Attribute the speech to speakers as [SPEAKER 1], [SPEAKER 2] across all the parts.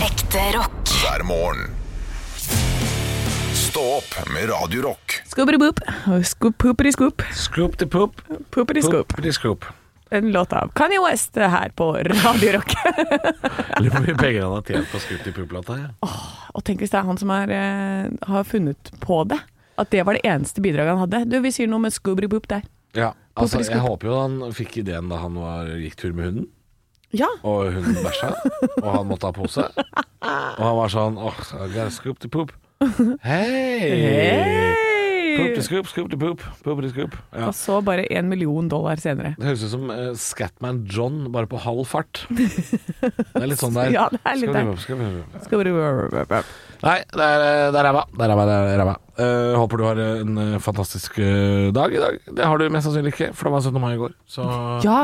[SPEAKER 1] Ekte rock.
[SPEAKER 2] hver morgen. Stå opp med Radio Rock.
[SPEAKER 3] Skubberiboop, skubberiboop,
[SPEAKER 4] Scoop the poop.
[SPEAKER 3] pooperiboop.
[SPEAKER 4] Poop the scoop.
[SPEAKER 3] En låt av Kanye West her på Radio Rock.
[SPEAKER 4] Lurer på hvor mye penger han har tjent på Scoop the poop-plata. ja.
[SPEAKER 3] Og tenk hvis det er han som er, eh, har funnet på det. At det var det eneste bidraget han hadde. Du, vi sier noe med skubberiboop der.
[SPEAKER 4] Ja,
[SPEAKER 3] Poop
[SPEAKER 4] altså,
[SPEAKER 3] the
[SPEAKER 4] jeg
[SPEAKER 3] scoop.
[SPEAKER 4] håper jo han fikk ideen da han var, gikk tur med hunden,
[SPEAKER 3] Ja.
[SPEAKER 4] og hunden bæsja, og han måtte ha pose. Og han var sånn åh, I gotta scoop the poop. Hei! Poop the
[SPEAKER 3] Hey!
[SPEAKER 4] scoop, scoop the poop, poop the scoop. Ja.
[SPEAKER 3] Og så bare en million dollar senere.
[SPEAKER 4] Det høres ut som eh, Scatman John, bare på halv fart. Det er litt sånn der.
[SPEAKER 3] Ja, det er litt
[SPEAKER 4] Skal vi
[SPEAKER 3] der.
[SPEAKER 4] opp, skal vi opp.
[SPEAKER 3] Skubberiboop.
[SPEAKER 4] Nei, det er det er ræva. Det er ræva, det er ræva. Eh, håper du har en eh, fantastisk eh, dag i dag. Det har du mest sannsynlig ikke, for det var 17. mai i går. Så
[SPEAKER 3] Ja.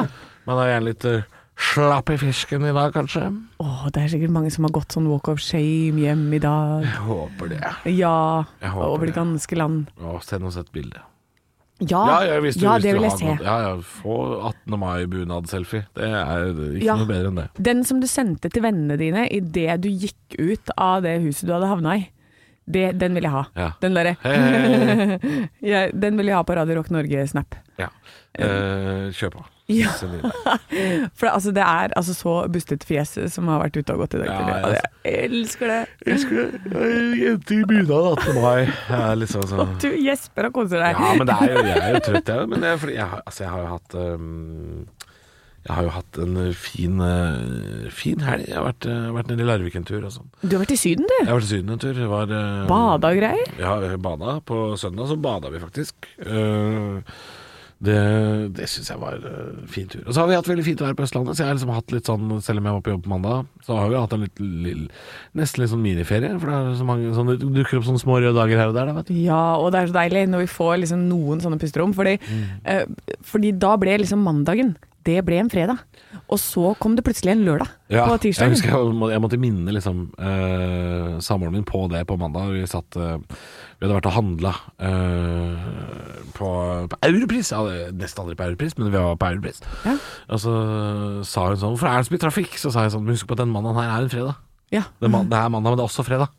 [SPEAKER 4] man er gjerne litt eh, slapp i fisken i dag, kanskje.
[SPEAKER 3] Åh, det er sikkert mange som har gått sånn walk of shame hjem i dag.
[SPEAKER 4] Jeg håper det.
[SPEAKER 3] Ja.
[SPEAKER 4] Jeg håper
[SPEAKER 3] Over det
[SPEAKER 4] det.
[SPEAKER 3] ganske land.
[SPEAKER 4] Å, send oss et bilde.
[SPEAKER 3] Ja,
[SPEAKER 4] ja, hvis du,
[SPEAKER 3] ja,
[SPEAKER 4] hvis
[SPEAKER 3] det
[SPEAKER 4] du
[SPEAKER 3] vil jeg
[SPEAKER 4] har
[SPEAKER 3] se.
[SPEAKER 4] noe- Ja, ja, få 18. mai-bunad-selfie. Det er ikke
[SPEAKER 3] Ja.
[SPEAKER 4] noe bedre enn det.
[SPEAKER 3] Den som du sendte til vennene dine idet du gikk ut av det huset du hadde havna i, det, den vil jeg ha.
[SPEAKER 4] Ja.
[SPEAKER 3] Den derre
[SPEAKER 4] Hei, hei, hei.
[SPEAKER 3] jeg- Den vil jeg ha på Radio Rock Norge-snap.
[SPEAKER 4] ja. Eh, kjør på.
[SPEAKER 3] Ja.
[SPEAKER 4] Send inn.
[SPEAKER 3] For altså, det er altså så bustete fjes som har vært ute og gått i dag
[SPEAKER 4] Ja,
[SPEAKER 3] tidlig.
[SPEAKER 4] jeg-
[SPEAKER 3] og det- Jeg elsker det.
[SPEAKER 4] Jeg skulle ei Jente i bunad 18. mai. Ja, litt sånn, sånn.
[SPEAKER 3] Du gjesper og koser deg.
[SPEAKER 4] Ja, men det er jo, jeg er jo trøtt, jeg. Men det er fordi jeg, har- altså, jeg har jo hatt øhm, Jeg har jo hatt en øh, fin, øh, fin helg. Jeg har vært, øh, vært nede i Larvik en tur og sånn.
[SPEAKER 3] Du har vært i Syden, du.
[SPEAKER 4] Jeg har vært i Syden en tur. Jeg Var, øh,
[SPEAKER 3] Bada og greier.
[SPEAKER 4] Ja, jeg bada. På søndag så bada vi faktisk. Eh, det det syns jeg var en fin tur. Og så har vi hatt veldig fint vær på Østlandet, så jeg har liksom hatt litt sånn, selv om jeg var på jobb på mandag, så har vi hatt en litt, lill- nesten litt sånn miniferie. For det, er så mange, sånn, det dukker opp sånne små røde dager her og der, da, vet du.
[SPEAKER 3] Ja, og det er så deilig når vi får liksom noen sånne pusterom. Fordi,
[SPEAKER 4] Mm.
[SPEAKER 3] eh, fordi da ble liksom mandagen Det ble en fredag. Og så kom det plutselig en lørdag på tirsdagen.
[SPEAKER 4] Jeg husker jeg, må- jeg måtte minne liksom, eh, samboeren min på det på mandag. Vi, satt, eh, vi hadde vært og handla på, på Europris. Jeg hadde nesten aldri på Europris, men vi var på Europris.
[SPEAKER 3] Ja.
[SPEAKER 4] Og så sa hun sånn 'Hvorfor er det så mye trafikk?' Så sa jeg sånn 'Husk på at den mandagen her er en fredag'.
[SPEAKER 3] Ja.
[SPEAKER 4] Det er, man, det er mandag, men det er også fredag.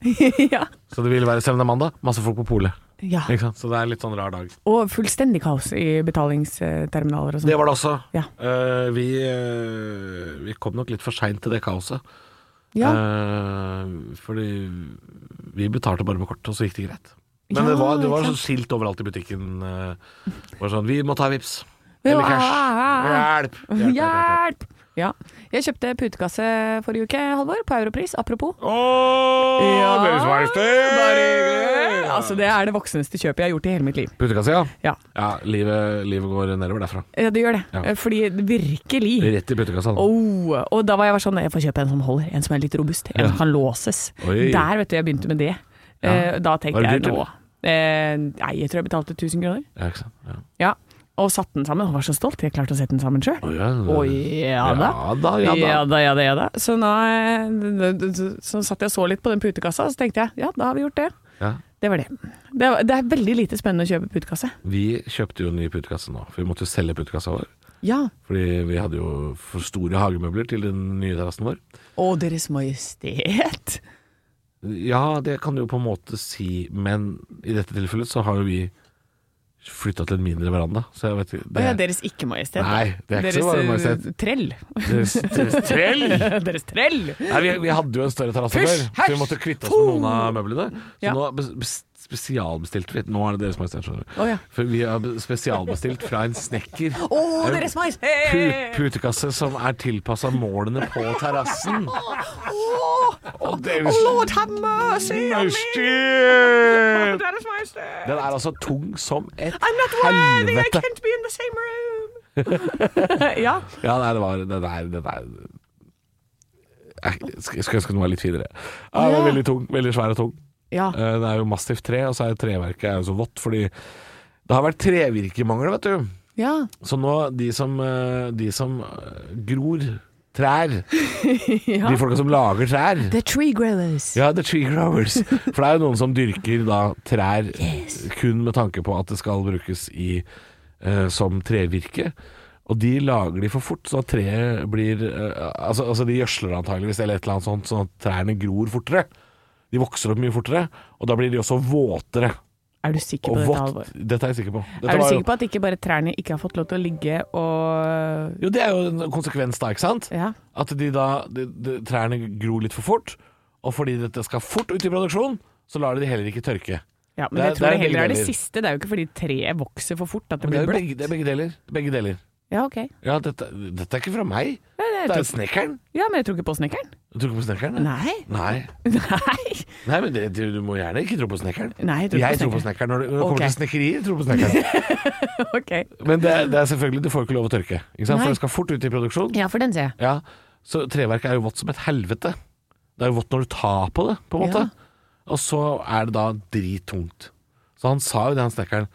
[SPEAKER 3] ja.
[SPEAKER 4] Så det vil være, selv om det er mandag, masse folk på polet.
[SPEAKER 3] ja.
[SPEAKER 4] Ikke sant? Så det er en litt sånn rar dag.
[SPEAKER 3] Og fullstendig kaos i betalingsterminaler og sånn.
[SPEAKER 4] Det var det også.
[SPEAKER 3] Ja.
[SPEAKER 4] Eh, vi, eh, vi kom nok litt for seint til det kaoset.
[SPEAKER 3] Ja.
[SPEAKER 4] Eh, fordi vi betalte bare med kort, og så gikk det greit. Men
[SPEAKER 3] Ja,
[SPEAKER 4] det var, det var
[SPEAKER 3] ikke
[SPEAKER 4] sånn skilt overalt i butikken. eh, det var sånn 'Vi må ta vips
[SPEAKER 3] Ja,
[SPEAKER 4] Eller cash.
[SPEAKER 3] ja,
[SPEAKER 4] Hjelp!
[SPEAKER 3] Eh, ja. Hjelp! Ja. Jeg kjøpte putekasse forrige uke, Halvor, på Europris. Apropos.
[SPEAKER 4] Ååå!
[SPEAKER 3] Ja, Bare hyggelig.
[SPEAKER 4] Bøysverksted!
[SPEAKER 3] Altså, det er det voksneste kjøpet jeg har gjort i hele mitt liv.
[SPEAKER 4] Puttekassa, ja.
[SPEAKER 3] Ja,
[SPEAKER 4] ja livet, livet går nedover derfra.
[SPEAKER 3] Eh, det gjør det.
[SPEAKER 4] Ja.
[SPEAKER 3] Eh, Fordi virkelig
[SPEAKER 4] Rett i puttekassa. da.
[SPEAKER 3] Oh, og da var jeg bare sånn Jeg får kjøpe en som holder, en som er litt robust, en
[SPEAKER 4] Ja.
[SPEAKER 3] som kan låses.
[SPEAKER 4] Oi.
[SPEAKER 3] Der, vet du, jeg begynte med det. Eh, Da tenkte
[SPEAKER 4] Var det
[SPEAKER 3] jeg
[SPEAKER 4] dyrt,
[SPEAKER 3] nå eh, Nei, jeg tror jeg betalte 1000 kroner.
[SPEAKER 4] Ja, ikke sant? Ja.
[SPEAKER 3] Ja, og satt den sammen. Og var så stolt. Jeg klarte å sette den sammen sjøl.
[SPEAKER 4] Å, ja, det-
[SPEAKER 3] Å ja da.
[SPEAKER 4] Ja da, ja da.
[SPEAKER 3] Ja da, ja da, ja da. Så nå eh, så satt jeg og så litt på den putekassa, og så tenkte jeg ja, da har vi gjort det.
[SPEAKER 4] Ja.
[SPEAKER 3] Det var det. Det, var, det er veldig lite spennende å kjøpe putekasse.
[SPEAKER 4] Vi kjøpte jo en ny putekasse nå, for vi måtte jo selge puttekassa vår.
[SPEAKER 3] Ja.
[SPEAKER 4] Fordi vi hadde jo for store hagemøbler til den nye terrassen vår.
[SPEAKER 3] Å, Deres Majestet.
[SPEAKER 4] Ja, det kan du jo på en måte si, men i dette tilfellet så har jo vi flytta til en mindre veranda, så jeg vet ikke
[SPEAKER 3] Å ja,
[SPEAKER 4] det,
[SPEAKER 3] Deres Ikke-Majestet.
[SPEAKER 4] Nei, det er ikke
[SPEAKER 3] Deres
[SPEAKER 4] så bare
[SPEAKER 3] eh, trell.
[SPEAKER 4] Trell!
[SPEAKER 3] Deres trell!
[SPEAKER 4] Nei, vi, vi hadde jo en større terrasse før,
[SPEAKER 3] Hysj,
[SPEAKER 4] så vi
[SPEAKER 3] hysj,
[SPEAKER 4] måtte kvitte oss
[SPEAKER 3] ho!
[SPEAKER 4] med noen av møblene. Så
[SPEAKER 3] Ja.
[SPEAKER 4] nå bes- bes- spesialbestilte vi Nå er det Deres Majestet, skjønner du.
[SPEAKER 3] Å ja.
[SPEAKER 4] For vi har be- spesialbestilt fra en snekker.
[SPEAKER 3] Å, eh.
[SPEAKER 4] En
[SPEAKER 3] Deres
[SPEAKER 4] pu-
[SPEAKER 3] Majestet!
[SPEAKER 4] Putekasse som er tilpassa målene på terrassen. Og Deres
[SPEAKER 3] Lord have mercy on me!
[SPEAKER 4] Majestet!
[SPEAKER 3] Deres Majestet!
[SPEAKER 4] Den er altså tung som et
[SPEAKER 3] I'm not worthy, I
[SPEAKER 4] helvete.
[SPEAKER 3] can't be in the same room! ja.
[SPEAKER 4] Ja, nei, det var Den er, den er jeg skulle skulle ønske den var litt finere. Ja, den er
[SPEAKER 3] Ja. Ah.
[SPEAKER 4] veldig tung, veldig svær og tung.
[SPEAKER 3] ja.
[SPEAKER 4] Eh, Det er jo massivt tre, og så er treverket er jo så vått fordi det har vært trevirkemangel, vet du.
[SPEAKER 3] Ja.
[SPEAKER 4] Så nå, de som, eh, de som eh, gror trær, de folka som lager trær
[SPEAKER 3] The Tree Growers.
[SPEAKER 4] Ja, the tree growers. For det er jo noen som dyrker da trær kun med tanke på at det skal brukes i, eh, som trevirke. Og de lager de for fort, så at treet blir eh, altså, altså de gjødsler antageligvis eller et eller annet sånt, sånn at trærne gror fortere. De vokser opp mye fortere, og da blir de også våtere.
[SPEAKER 3] Er du sikker på
[SPEAKER 4] Og
[SPEAKER 3] dette,
[SPEAKER 4] vått
[SPEAKER 3] Halvor?
[SPEAKER 4] Dette er jeg sikker på. Dette
[SPEAKER 3] Er du
[SPEAKER 4] var jo-
[SPEAKER 3] sikker på at ikke bare trærne ikke har fått lov til å ligge og
[SPEAKER 4] Jo, det er jo en konsekvens da, ikke sant?
[SPEAKER 3] Ja.
[SPEAKER 4] At de da, de, de, trærne gror litt for fort, og fordi dette skal fort ut i produksjon, så lar de de heller ikke tørke.
[SPEAKER 3] Ja, men
[SPEAKER 4] Det er-
[SPEAKER 3] jeg tror
[SPEAKER 4] det
[SPEAKER 3] det,
[SPEAKER 4] er
[SPEAKER 3] heller er det
[SPEAKER 4] begge deler.
[SPEAKER 3] siste. Det er jo ikke fordi treet vokser for fort at det
[SPEAKER 4] Men det
[SPEAKER 3] blir
[SPEAKER 4] er jo
[SPEAKER 3] bløtt.
[SPEAKER 4] begge, det er begge deler. Begge deler.
[SPEAKER 3] Ja, ok.
[SPEAKER 4] Ja, dette, dette er ikke fra meg.
[SPEAKER 3] jeg
[SPEAKER 4] Det er snekkeren.
[SPEAKER 3] Ja, men jeg tror ikke på snekkeren.
[SPEAKER 4] Du tror ikke på snekkeren? ja?
[SPEAKER 3] Nei.
[SPEAKER 4] Nei.
[SPEAKER 3] Nei.
[SPEAKER 4] Nei, men det, du, du må gjerne ikke tro på snekkeren.
[SPEAKER 3] Nei, jeg tror ikke
[SPEAKER 4] Jeg
[SPEAKER 3] på
[SPEAKER 4] tror på
[SPEAKER 3] snekkeren.
[SPEAKER 4] snekkeren. Når det når det kommer
[SPEAKER 3] Ok.
[SPEAKER 4] til snekkerier, tror jeg på snekkeren.
[SPEAKER 3] Ok.
[SPEAKER 4] Men det, er- det er selvfølgelig, du får jo ikke lov å tørke. Ikke sant?
[SPEAKER 3] Nei.
[SPEAKER 4] For det skal fort ut i produksjon.
[SPEAKER 3] Ja, for den ser jeg.
[SPEAKER 4] Ja, så treverket er jo vått som et helvete. Det er jo vått når du tar på det, på en måte. Og så er det da drittungt. Så han sa jo det, han snekkeren.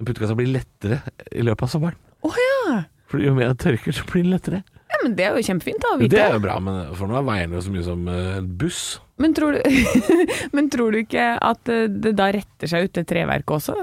[SPEAKER 4] Den puttekassa blir lettere i løpet av sommeren.
[SPEAKER 3] Å ja.
[SPEAKER 4] For jo mer den tørker, så blir den lettere.
[SPEAKER 3] ja! Men det er jo kjempefint da å
[SPEAKER 4] Det
[SPEAKER 3] vite.
[SPEAKER 4] er jo bra, men for nå er veiene jo så mye som eh, en buss.
[SPEAKER 3] Men, tror du, men tror du ikke at eh, det da retter seg ut det treverket også?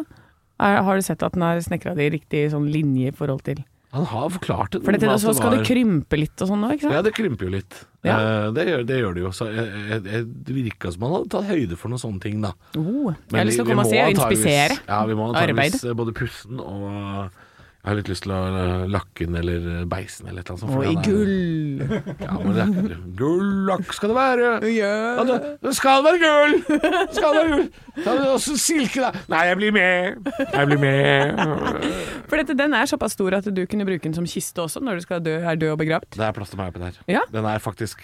[SPEAKER 3] Er, har du sett at den har snekra det i riktig sånn linje i forhold til
[SPEAKER 4] Han har forklart altså, det.
[SPEAKER 3] For dette,
[SPEAKER 4] med at
[SPEAKER 3] så skal
[SPEAKER 4] var-
[SPEAKER 3] det krympe litt og sånn nå, ikke sant?
[SPEAKER 4] Ja, det krymper jo litt.
[SPEAKER 3] Ja.
[SPEAKER 4] Eh, det, gjør, det gjør det jo. Så jeg, jeg, jeg, det virka som han hadde tatt høyde for noen sånne ting, da.
[SPEAKER 3] Oh, jeg
[SPEAKER 4] Men
[SPEAKER 3] har lyst til å komme og se og
[SPEAKER 4] antageligvis-
[SPEAKER 3] inspisere.
[SPEAKER 4] Ja, vi må antageligvis eh, både pusse den og Jeg har litt lyst til å eh, lakke den eller eh, beise den eller et eller annet sånt.
[SPEAKER 3] Og
[SPEAKER 4] for
[SPEAKER 3] i
[SPEAKER 4] han er-
[SPEAKER 3] gull.
[SPEAKER 4] Ja, men det er ikke Gullakk skal det være! Ja, det, det skal være gull! Det Skal være gull! Da er det også silke, da. Nei, jeg blir med! Jeg blir med!
[SPEAKER 3] For dette, den er såpass stor at du kunne bruke den som kiste også, når du skal dø, er død og begravd.
[SPEAKER 4] Det er plass til meg oppi der.
[SPEAKER 3] Ja.
[SPEAKER 4] Den er faktisk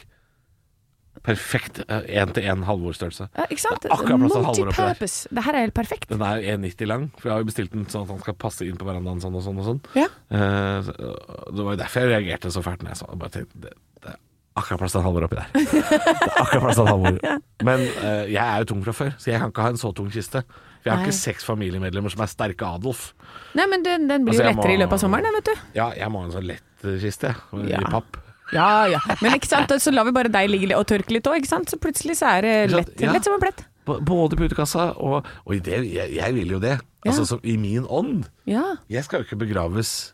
[SPEAKER 4] perfekt eh, én-til-én Halvor-størrelse.
[SPEAKER 3] Ja, ikke sant?
[SPEAKER 4] Det er akkurat plass til Halvor oppi der.
[SPEAKER 3] Multipurpose. Det her er helt perfekt.
[SPEAKER 4] Den er 1,90 lang, for jeg har jo bestilt den sånn at han skal passe inn på verandaen sånn og sånn og sånn.
[SPEAKER 3] Ja.
[SPEAKER 4] Eh, så- og det var jo derfor jeg reagerte så fælt når jeg så det. Bare tenkte, det, det er akkurat plass til en halvor oppi der. Det er akkurat plass til en halvor. Men eh, jeg er jo tung fra før, så jeg kan ikke ha en så tung kiste. For jeg har
[SPEAKER 3] Nei.
[SPEAKER 4] ikke seks familiemedlemmer som er sterke Adolf.
[SPEAKER 3] Nei, men den, den blir
[SPEAKER 4] Altså,
[SPEAKER 3] jo
[SPEAKER 4] jeg
[SPEAKER 3] lettere
[SPEAKER 4] må-
[SPEAKER 3] i løpet av sommeren, den, vet du.
[SPEAKER 4] Ja, jeg må ha en sånn lett eh, kiste, jeg.
[SPEAKER 3] Ja.
[SPEAKER 4] I papp.
[SPEAKER 3] Ja, ja. Men ikke sant, så lar vi bare deg ligge litt og tørke litt òg, ikke sant. Så plutselig så er det
[SPEAKER 4] Ikke sant?
[SPEAKER 3] lett,
[SPEAKER 4] Ja.
[SPEAKER 3] lett som en plett.
[SPEAKER 4] B både putekassa og Og i det, jeg, jeg vil jo det.
[SPEAKER 3] Ja.
[SPEAKER 4] Altså som i min ånd.
[SPEAKER 3] Ja.
[SPEAKER 4] Jeg skal jo ikke begraves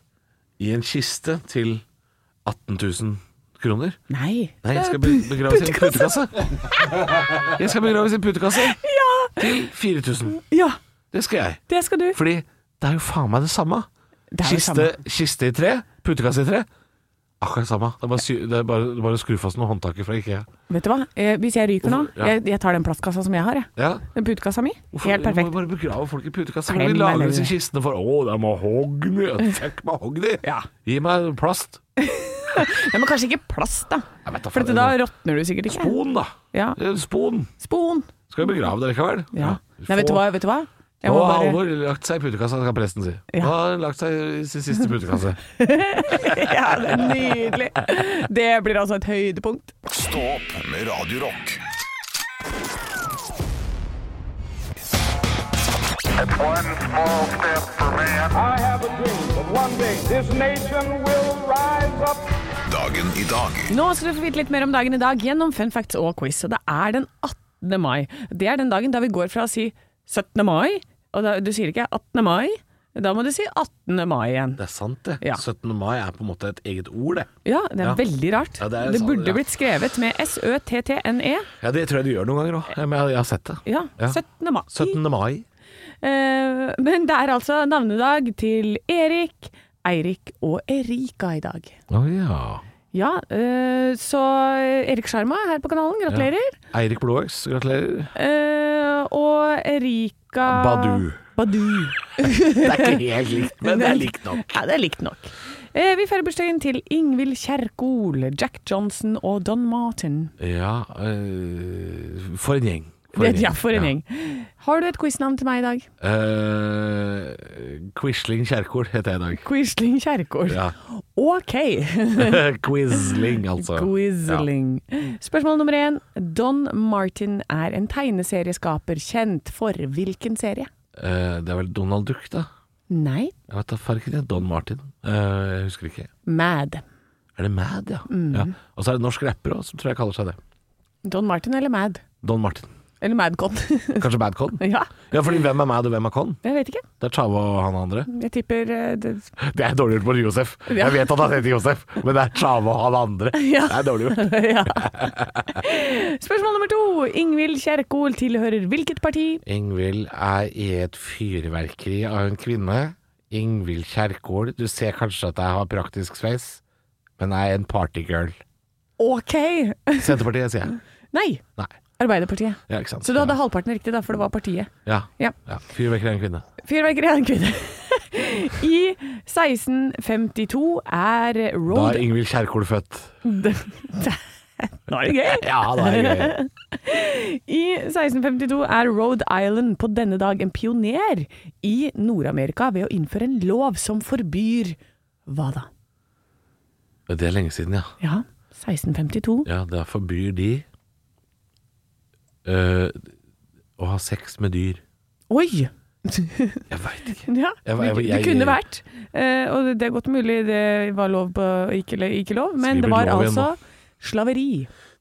[SPEAKER 4] i en kiste til 18 000 kroner.
[SPEAKER 3] Nei.
[SPEAKER 4] Nei, jeg skal be begraves i en putekasse. Jeg skal begraves i en putekasse
[SPEAKER 3] Ja!
[SPEAKER 4] til 4000.
[SPEAKER 3] Ja,
[SPEAKER 4] Det skal jeg.
[SPEAKER 3] det skal du.
[SPEAKER 4] Fordi det er jo faen meg det samme.
[SPEAKER 3] Det er jo
[SPEAKER 4] Kiste,
[SPEAKER 3] samme.
[SPEAKER 4] kiste i tre, putekasse i tre. Akkurat samme. Det er bare, sy det er bare, det er bare å skru fast noen håndtaker fra IKEA.
[SPEAKER 3] Vet du hva, eh, hvis jeg ryker nå,
[SPEAKER 4] Hvorfor- ja.
[SPEAKER 3] jeg, jeg tar den plastkassa som jeg har, jeg.
[SPEAKER 4] Ja.
[SPEAKER 3] Den putekassa mi.
[SPEAKER 4] Hvorfor
[SPEAKER 3] Helt
[SPEAKER 4] må
[SPEAKER 3] perfekt.
[SPEAKER 4] vi bare begrave folk i putekasser?
[SPEAKER 3] Klem
[SPEAKER 4] Vi lager
[SPEAKER 3] eller-
[SPEAKER 4] disse kistene for Å, det er mahogny. Fuck mahogny.
[SPEAKER 3] Ja.
[SPEAKER 4] Gi meg plast.
[SPEAKER 3] Ja, men kanskje ikke plast, da.
[SPEAKER 4] Jeg vet da
[SPEAKER 3] For dette,
[SPEAKER 4] faen,
[SPEAKER 3] da råtner du sikkert ikke.
[SPEAKER 4] Spon, da.
[SPEAKER 3] Ja.
[SPEAKER 4] Eh, Spon.
[SPEAKER 3] Spon.
[SPEAKER 4] Skal vi begrave det likevel?
[SPEAKER 3] Ja. Nei, vet du hva? Vet du hva? Jeg
[SPEAKER 4] Nå
[SPEAKER 3] må
[SPEAKER 4] har
[SPEAKER 3] bare-
[SPEAKER 4] Halvor lagt seg i putekassa, kan presten si.
[SPEAKER 3] Ja.
[SPEAKER 4] Nå har han lagt seg i sin siste putekasse.
[SPEAKER 3] Ja, det er nydelig. Det blir altså et høydepunkt.
[SPEAKER 2] Stå opp med Radio Rock.
[SPEAKER 1] It's one small step for man.
[SPEAKER 5] I have a dream that one day this nation will rise up.
[SPEAKER 2] Dagen i dag
[SPEAKER 3] Nå skal du få vite litt mer om dagen i dag gjennom fun facts og quiz. Og det er den 18. mai. Det er den dagen da vi går fra å si 17. mai, og da, du sier ikke 18. mai, da må du si 18. mai igjen.
[SPEAKER 4] Det er sant, det.
[SPEAKER 3] Ja.
[SPEAKER 4] 17. mai er på en måte et eget ord, det.
[SPEAKER 3] Ja, det er
[SPEAKER 4] Ja.
[SPEAKER 3] veldig rart.
[SPEAKER 4] Ja, det er sant,
[SPEAKER 3] burde
[SPEAKER 4] ja.
[SPEAKER 3] blitt skrevet med S-Ø-T-T-N-E.
[SPEAKER 4] Ja, Det tror jeg du gjør noen ganger òg, men jeg, jeg har sett det.
[SPEAKER 3] E. Ja,
[SPEAKER 4] Ja.
[SPEAKER 3] 17. mai.
[SPEAKER 4] 17. mai.
[SPEAKER 3] Eh, men det er altså navnedag til Erik, Eirik og Erika i dag.
[SPEAKER 4] Å ja.
[SPEAKER 3] Ja, eh, så Erik Sjarma her på kanalen, gratulerer.
[SPEAKER 4] Eirik Blåøks, gratulerer.
[SPEAKER 3] Eh, og Erika
[SPEAKER 4] Badu.
[SPEAKER 3] Badu.
[SPEAKER 4] Det er ikke helt likt, men det er likt nok.
[SPEAKER 3] Ja, det er likt nok. Eh, vi feirer bursdagen til Ingvild Kjerkol, Jack Johnson og Don Martin.
[SPEAKER 4] Ja, øh, for en gjeng.
[SPEAKER 3] Det- ja, for en gjeng. Har du et quiznavn til meg i dag?
[SPEAKER 4] Eh, Quisling Kjerkol heter jeg i dag.
[SPEAKER 3] Quisling Kjerkol.
[SPEAKER 4] Ja.
[SPEAKER 3] Ok.
[SPEAKER 4] Quisling, altså.
[SPEAKER 3] Quisling. Spørsmål nummer én. Don Martin er en tegneserieskaper kjent for hvilken serie?
[SPEAKER 4] Ja. Eh, det er vel Donald Duck, da?
[SPEAKER 3] Nei,
[SPEAKER 4] Jeg vet da farken, ja. Don Martin. Eh, jeg husker ikke.
[SPEAKER 3] Mad.
[SPEAKER 4] Er det
[SPEAKER 3] Mm.
[SPEAKER 4] Mad, ja? ja. Og så er det en norsk rapper òg, som tror jeg kaller seg det.
[SPEAKER 3] Don Martin eller Mad?
[SPEAKER 4] Don Martin.
[SPEAKER 3] Eller Madcon.
[SPEAKER 4] Kanskje Badcon?
[SPEAKER 3] ja,
[SPEAKER 4] Ja, fordi hvem er Mad og hvem er Con?
[SPEAKER 3] jeg vet ikke.
[SPEAKER 4] Det er Chava og han andre.
[SPEAKER 3] Jeg tipper eh, det,
[SPEAKER 4] Det er dårlig gjort på Josef. Jeg vet at han heter Josef, men det er Chava og han andre.
[SPEAKER 3] Ja.
[SPEAKER 4] Det er dårlig gjort.
[SPEAKER 3] ja. Spørsmål nummer to. Ingvild Kjerkol tilhører hvilket parti?
[SPEAKER 4] Ingvild er i et fyrverkeri av en kvinne. Ingvild Kjerkol, du ser kanskje at jeg har praktisk sveis, men jeg er en partygirl.
[SPEAKER 3] Ok!
[SPEAKER 4] Senterpartiet, sier jeg.
[SPEAKER 3] Nei,
[SPEAKER 4] Nei.
[SPEAKER 3] Arbeiderpartiet.
[SPEAKER 4] Ja, ikke sant.
[SPEAKER 3] Så du hadde halvparten riktig, da, for det var partiet.
[SPEAKER 4] Ja.
[SPEAKER 3] Ja.
[SPEAKER 4] ja. Fyrverkeri av en kvinne.
[SPEAKER 3] Fyrverkeri av en kvinne. I 1652 er
[SPEAKER 4] Da
[SPEAKER 3] Roald
[SPEAKER 4] er Ingvild Kjerkol født.
[SPEAKER 3] Nå er det gøy!
[SPEAKER 4] Ja, da er det gøy.
[SPEAKER 3] I 1652 er Rhode Island på denne dag en pioner i Nord-Amerika ved å innføre en lov som forbyr Hva da?
[SPEAKER 4] Det er lenge siden, ja.
[SPEAKER 3] Ja, 1652.
[SPEAKER 4] Ja, da forbyr de eh, å ha sex med dyr.
[SPEAKER 3] Oi!
[SPEAKER 4] Jeg veit ikke.
[SPEAKER 3] Ja,
[SPEAKER 4] Jeg var- jeg var-
[SPEAKER 3] det, det
[SPEAKER 4] jeg-
[SPEAKER 3] kunne vært. Eh, og det er godt mulig det var lov på ikke, ikke lov, men
[SPEAKER 4] Skal vi
[SPEAKER 3] det var
[SPEAKER 4] bli lov igjen
[SPEAKER 3] altså slaveri.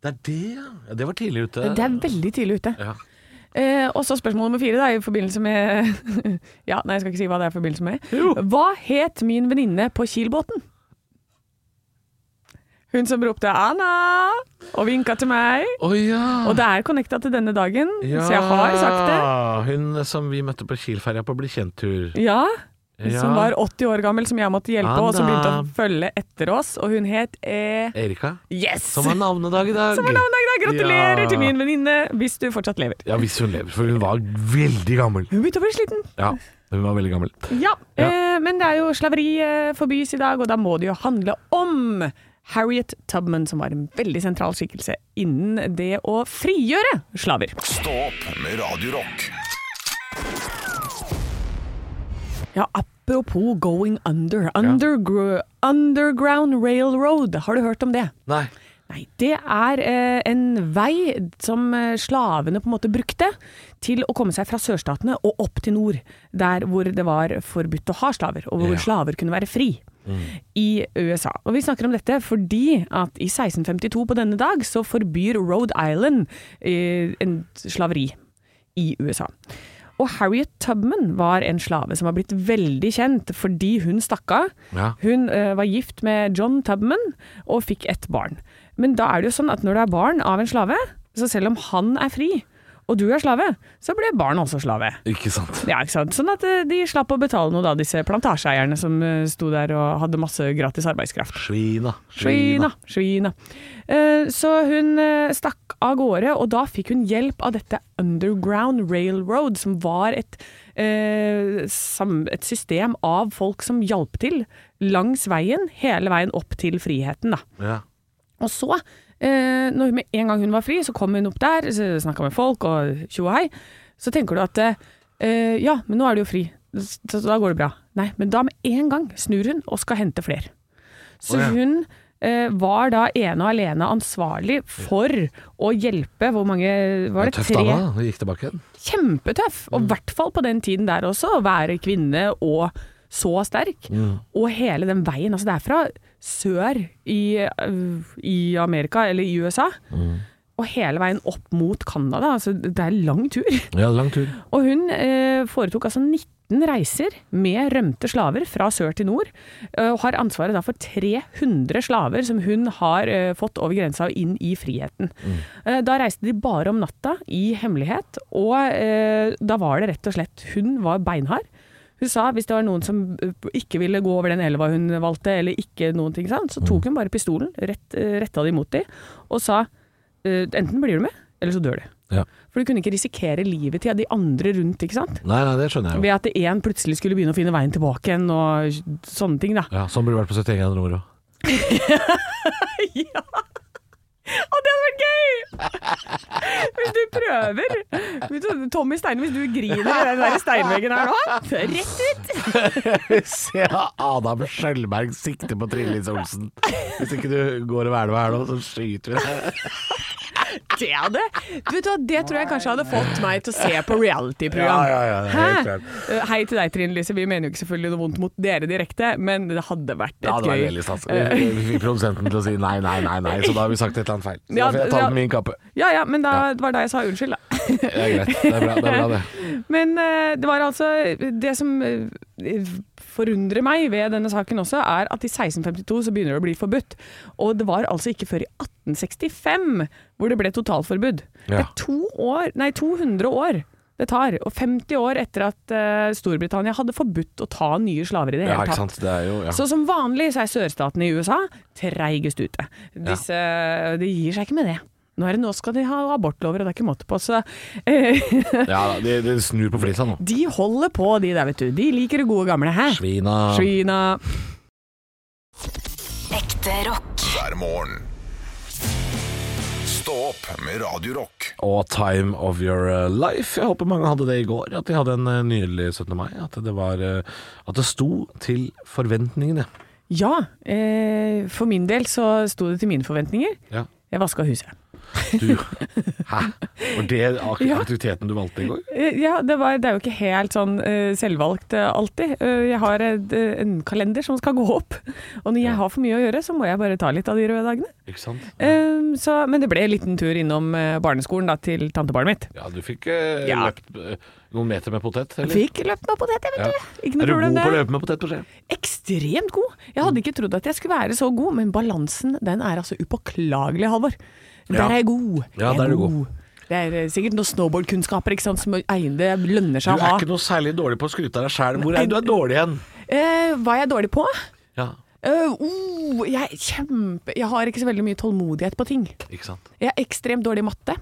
[SPEAKER 4] Det er det, ja. Ja, Det var tidlig ute.
[SPEAKER 3] Det er veldig tidlig ute.
[SPEAKER 4] Ja.
[SPEAKER 3] Eh, og så spørsmål nummer fire, da, i forbindelse med Ja, nei, jeg skal ikke si hva det er i forbindelse med. Hva het min venninne på Kielbåten? Hun som ropte 'Anna' og vinka til meg.
[SPEAKER 4] Å ja.
[SPEAKER 3] Og det er connecta til denne dagen, så jeg har sagt det.
[SPEAKER 4] Hun som vi møtte på Kielferja på Bli kjent-tur.
[SPEAKER 3] Ja,
[SPEAKER 4] Ja.
[SPEAKER 3] Som var 80 år gammel, som jeg måtte hjelpe, og som begynte
[SPEAKER 4] Anna.
[SPEAKER 3] å følge etter oss. Og hun het eh,
[SPEAKER 4] Erika,
[SPEAKER 3] Yes!
[SPEAKER 4] som har navnedag i dag.
[SPEAKER 3] Som har navnedag i dag! Gratulerer
[SPEAKER 4] Ja.
[SPEAKER 3] til min venninne, hvis du fortsatt lever.
[SPEAKER 4] Ja, hvis hun lever, for hun var veldig gammel.
[SPEAKER 3] Hun begynte å bli sliten.
[SPEAKER 4] Ja, hun var veldig gammel.
[SPEAKER 3] Ja,
[SPEAKER 4] Ja.
[SPEAKER 3] Eh, men det er jo slaveri eh, forbys i dag, og da må det jo handle om Harriet Tubman, som var en veldig sentral skikkelse innen det å frigjøre slaver.
[SPEAKER 2] Stå opp med Radio Rock.
[SPEAKER 3] Ja, apropos going under. Undergr Underground Railroad, har du hørt om det?
[SPEAKER 4] Nei.
[SPEAKER 3] Nei, det er eh, en vei som eh, slavene på en måte brukte til å komme seg fra sørstatene og opp til nord, der hvor det var forbudt å ha slaver, og hvor
[SPEAKER 4] Ja.
[SPEAKER 3] slaver kunne være fri. I USA. Og vi snakker om dette fordi at i 1652 på denne dag så forbyr Rhode Island eh, en slaveri i USA. Og Harriet Tubman var en slave som har blitt veldig kjent fordi hun stakk av.
[SPEAKER 4] Ja.
[SPEAKER 3] Hun eh, var gift med John Tubman og fikk ett barn. Men da er det jo sånn at når du er barn av en slave, så selv om han er fri, og du er slave, så blir barn også slave.
[SPEAKER 4] Ikke sant.
[SPEAKER 3] Ja, ikke sant? Sånn at eh, de slapp å betale noe da, disse plantasjeeierne som eh, sto der og hadde masse gratis arbeidskraft.
[SPEAKER 4] Svina.
[SPEAKER 3] Svina, svina. Eh, Så hun eh, stakk av gårde, og da fikk hun hjelp av dette Underground Railroad, som var et, eh, sam- et system av folk som hjalp til langs veien, hele veien opp til friheten. Da.
[SPEAKER 4] Ja.
[SPEAKER 3] Og så, eh, når hun med en gang hun var fri, så kom hun opp der, så snakka med folk og tjo og hei. Så tenker du at eh, eh, ja, men nå er du jo fri, så så da går det bra. Nei, men da med en gang snur hun og skal hente flere. Så
[SPEAKER 4] Å, ja.
[SPEAKER 3] hun eh, var da ene og alene ansvarlig for å hjelpe hvor mange Var det
[SPEAKER 4] Tøff
[SPEAKER 3] tre?
[SPEAKER 4] dame, da. Hun gikk tilbake igjen.
[SPEAKER 3] Kjempetøff! Og i hvert fall på den tiden der også, å være kvinne og så sterk. Og hele den veien. Altså det er fra sør i, øh, i Amerika, eller i USA, og hele veien opp mot Canada. Altså det er lang tur.
[SPEAKER 4] Ja, lang tur.
[SPEAKER 3] Og hun eh, foretok altså 19 reiser med rømte slaver fra sør til nord, eh, og har ansvaret da for 300 slaver som hun har eh, fått over grensa og inn i friheten. Eh, da reiste de bare om natta i hemmelighet, og eh, da var det rett og slett Hun var beinhard. Hun sa hvis det var noen som eh, ikke ville gå over den elva hun valgte, eller ikke noen ting, sant, så tok hun bare pistolen, rett, eh, retta det imot dem, og sa eh, enten blir du med, eller så dør du.
[SPEAKER 4] Ja.
[SPEAKER 3] For du kunne ikke risikere livet til de andre rundt, ikke sant?
[SPEAKER 4] Nei, nei, det skjønner jeg jo.
[SPEAKER 3] Ved at én plutselig skulle begynne å finne veien tilbake igjen og sånne ting, da.
[SPEAKER 4] Ja, Sånn burde det vært på 71 grader nord òg.
[SPEAKER 3] ja! Å, det hadde vært gøy! Hvis du prøver. Hvis du- Tommy Steine, hvis du griner i den der steinveggen her nå, rett ut!
[SPEAKER 4] Se Adam Skjølberg sikte på Trine Lise Olsen. Hvis ikke du går og hvelver her nå, så skyter vi deg.
[SPEAKER 3] Det hadde Du vet hva, det tror jeg kanskje hadde fått meg til å se på reality-program.
[SPEAKER 4] Ja, ja, ja, helt
[SPEAKER 3] Hæ?
[SPEAKER 4] klart.
[SPEAKER 3] Eh, Hei til deg, Trine Lise. Vi mener jo ikke selvfølgelig noe vondt mot dere direkte, men det hadde vært et
[SPEAKER 4] Ja, det var
[SPEAKER 3] gøy
[SPEAKER 4] veldig stas. Vi vi fikk produsenten til å si nei, nei, nei, nei, så da har vi sagt et eller annet feil. Så
[SPEAKER 3] Ja,
[SPEAKER 4] da får jeg
[SPEAKER 3] ja.
[SPEAKER 4] ta det med min kappe.
[SPEAKER 3] Ja ja, men da, det var da jeg sa unnskyld, da.
[SPEAKER 4] Det er greit. Det er bra, det. Er bra, det.
[SPEAKER 3] Men eh, det var altså Det som eh, forundrer meg ved denne saken også, er at i 1652 så begynner det å bli forbudt. Og det var altså ikke før i 1865 hvor det ble totalforbud. Det
[SPEAKER 4] Ja.
[SPEAKER 3] er to år, nei 200 år det tar, og 50 år etter at eh, Storbritannia hadde forbudt å ta nye slaver i det
[SPEAKER 4] Ja,
[SPEAKER 3] hele
[SPEAKER 4] ikke
[SPEAKER 3] tatt.
[SPEAKER 4] sant. Det er jo ja.
[SPEAKER 3] Så som vanlig så er sørstatene i USA treigest ute. Disse, De gir seg ikke med det. Nå, er det, nå skal de ha abortlover, og det er ikke måte på. Så eh,
[SPEAKER 4] ja de, de snur på flisa nå.
[SPEAKER 3] de holder på, de der, vet du. De liker det gode gamle. Hæ?
[SPEAKER 4] Svina.
[SPEAKER 3] Svina.
[SPEAKER 6] Ekte rock.
[SPEAKER 2] hver morgen. Stå opp med Radio Rock.
[SPEAKER 4] Og Time of Your eh, Life. Jeg håper mange hadde det i går, at de hadde en eh, nydelig 17. mai. At det, var, eh, at det sto til forventningene.
[SPEAKER 3] Ja, eh, for min del så sto det til mine forventninger.
[SPEAKER 4] Ja.
[SPEAKER 3] Jeg vaska huset.
[SPEAKER 4] Du, hæ? Var det ak-
[SPEAKER 3] Ja.
[SPEAKER 4] aktiviteten du valgte i går?
[SPEAKER 3] Eh, Ja, det, var, det er jo ikke helt sånn eh, selvvalgt eh, alltid. Eh, jeg har et, eh, en kalender som skal gå opp, og når jeg har for mye å gjøre, så må jeg bare ta litt av de røde dagene.
[SPEAKER 4] Ikke sant?
[SPEAKER 3] Ehm, så, men det ble en liten tur innom eh, barneskolen da, til tantebarnet mitt.
[SPEAKER 4] Ja, du fikk eh,
[SPEAKER 3] Ja.
[SPEAKER 4] løpt eh, noen meter med potet,
[SPEAKER 3] Jeg
[SPEAKER 4] eller?
[SPEAKER 3] fikk løpt meg på det, vet
[SPEAKER 4] Ja.
[SPEAKER 3] du. Ikke
[SPEAKER 4] Er
[SPEAKER 3] noe
[SPEAKER 4] du
[SPEAKER 3] problem
[SPEAKER 4] god på å
[SPEAKER 3] det.
[SPEAKER 4] løpe med potet på skje?
[SPEAKER 3] Ekstremt god. Jeg
[SPEAKER 4] Mm.
[SPEAKER 3] hadde ikke trodd at jeg skulle være så god, men balansen den er altså upåklagelig, Halvor. Der
[SPEAKER 4] Ja.
[SPEAKER 3] er jeg god.
[SPEAKER 4] Ja,
[SPEAKER 3] Jeg
[SPEAKER 4] der er du god.
[SPEAKER 3] Det er eh, sikkert noen snowboardkunnskaper ikke sant, som eiende- det lønner
[SPEAKER 4] Du
[SPEAKER 3] seg å
[SPEAKER 4] er
[SPEAKER 3] ha.
[SPEAKER 4] ikke noe særlig dårlig på å skryte av deg sjæl. Hvor er du er dårlig igjen?
[SPEAKER 3] Eh, hva er jeg dårlig på?
[SPEAKER 4] Ja,
[SPEAKER 3] Eh, oh, jeg, er kjempe, jeg har ikke så veldig mye tålmodighet på ting.
[SPEAKER 4] ikke sant.
[SPEAKER 3] Jeg er ekstremt dårlig i matte.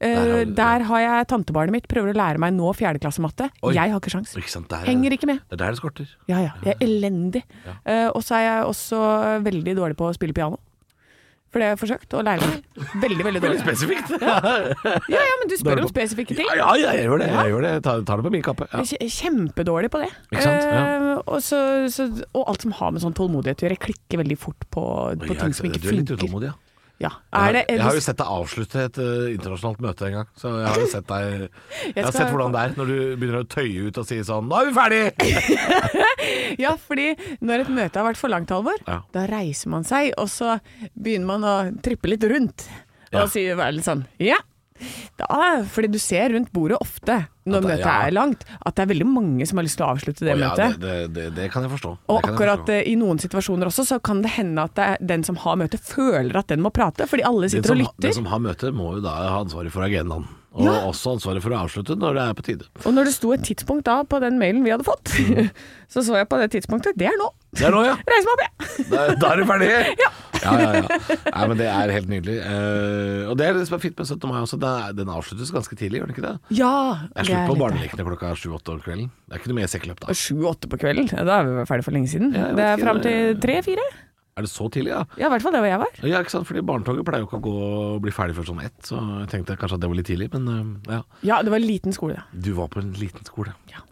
[SPEAKER 3] Eh,
[SPEAKER 4] Der har du-
[SPEAKER 3] der har jeg tantebarnet mitt, prøver å lære meg nå fjerdeklassematte.
[SPEAKER 4] Oi.
[SPEAKER 3] Jeg har ikke sjans.
[SPEAKER 4] Ikke sant? Der, eh,
[SPEAKER 3] Henger ikke med.
[SPEAKER 4] Det er der det skorter.
[SPEAKER 3] Ja, ja. Jeg er elendig. Eh, og så er jeg også veldig dårlig på å spille piano. For det har jeg forsøkt å lære meg. Veldig, veldig dårlig.
[SPEAKER 4] Spesifikt.
[SPEAKER 3] Ja, ja, men du spør
[SPEAKER 4] Dårlig
[SPEAKER 3] om
[SPEAKER 4] på-
[SPEAKER 3] spesifikke ting.
[SPEAKER 4] Ja, ja, jeg gjør det. Jeg gjør det. Jeg tar, tar det på min kappe. Ja.
[SPEAKER 3] Jeg er kje- Kjempedårlig på det.
[SPEAKER 4] Ikke sant? Ja.
[SPEAKER 3] Eh, og, så, så, og alt som har med sånn tålmodighet å gjøre. Jeg klikker veldig fort på, på
[SPEAKER 4] Jeg-
[SPEAKER 3] ting som ikke
[SPEAKER 4] Du er litt
[SPEAKER 3] funker.
[SPEAKER 4] utålmodig, ja.
[SPEAKER 3] Ja.
[SPEAKER 4] Jeg har,
[SPEAKER 3] Er det,
[SPEAKER 4] jeg har jo sett deg avslutte et eh, internasjonalt møte en gang. Så jeg har jo sett deg Jeg, har
[SPEAKER 3] skal-
[SPEAKER 4] sett hvordan det er når du begynner å tøye ut og si sånn 'Nå er vi ferdig!'
[SPEAKER 3] Ja, fordi når et møte har vært for langt, Halvor,
[SPEAKER 4] Ja.
[SPEAKER 3] da reiser man seg, og så begynner man å trippe litt rundt. Og
[SPEAKER 4] Ja.
[SPEAKER 3] sier bare litt sånn Ja. Da, fordi du ser rundt bordet ofte når
[SPEAKER 4] At det-
[SPEAKER 3] møtet
[SPEAKER 4] ja.
[SPEAKER 3] er langt, at det er veldig mange som har lyst til å avslutte det
[SPEAKER 4] Å ja,
[SPEAKER 3] møtet.
[SPEAKER 4] det, det, det, det kan jeg forstå.
[SPEAKER 3] Og
[SPEAKER 4] Det kan jeg
[SPEAKER 3] akkurat
[SPEAKER 4] forstå.
[SPEAKER 3] eh, i noen situasjoner også, så kan det hende at det er den som har møtet, føler at den må prate, fordi alle
[SPEAKER 4] den
[SPEAKER 3] sitter
[SPEAKER 4] som,
[SPEAKER 3] og
[SPEAKER 4] den
[SPEAKER 3] lytter.
[SPEAKER 4] som har møte, må jo da ha ansvaret for agendaen. Og også ansvaret for å avslutte når det er på tide.
[SPEAKER 3] Og når det sto et tidspunkt da på den mailen vi hadde fått, så så jeg på det tidspunktet. Det er nå!
[SPEAKER 4] Mm. Det er nå, ja.
[SPEAKER 3] Reis meg opp, jeg!
[SPEAKER 4] Da, da er du ferdig! Ja. ja, ja, Nei, men det er helt nydelig. Eh, og det er det som er fint med 17. mai også. Den, er, den avsluttes ganske tidlig, gjør den ikke det?
[SPEAKER 3] Ja!
[SPEAKER 4] Det er slutt på barnelekene klokka sju-åtte om kvelden. Det er ikke noe mer sekkeløp da.
[SPEAKER 3] Sju-åtte på kvelden. Ja, Da er vi vel ferdig for lenge siden.
[SPEAKER 4] Ja, jeg
[SPEAKER 3] det
[SPEAKER 4] vet
[SPEAKER 3] er
[SPEAKER 4] ikke,
[SPEAKER 3] fram
[SPEAKER 4] det-
[SPEAKER 3] til tre-fire.
[SPEAKER 4] Er det så tidlig, ja?
[SPEAKER 3] Ja, i hvert fall det hvor jeg var.
[SPEAKER 4] Ja, ikke sant? Fordi barnetoget pleier jo ikke å gå og bli ferdig før sånn ett, så jeg tenkte kanskje at det var litt tidlig, men eh, ja.
[SPEAKER 3] Ja, det var en liten skole. da.
[SPEAKER 4] Du var på en liten skole.
[SPEAKER 3] Ja.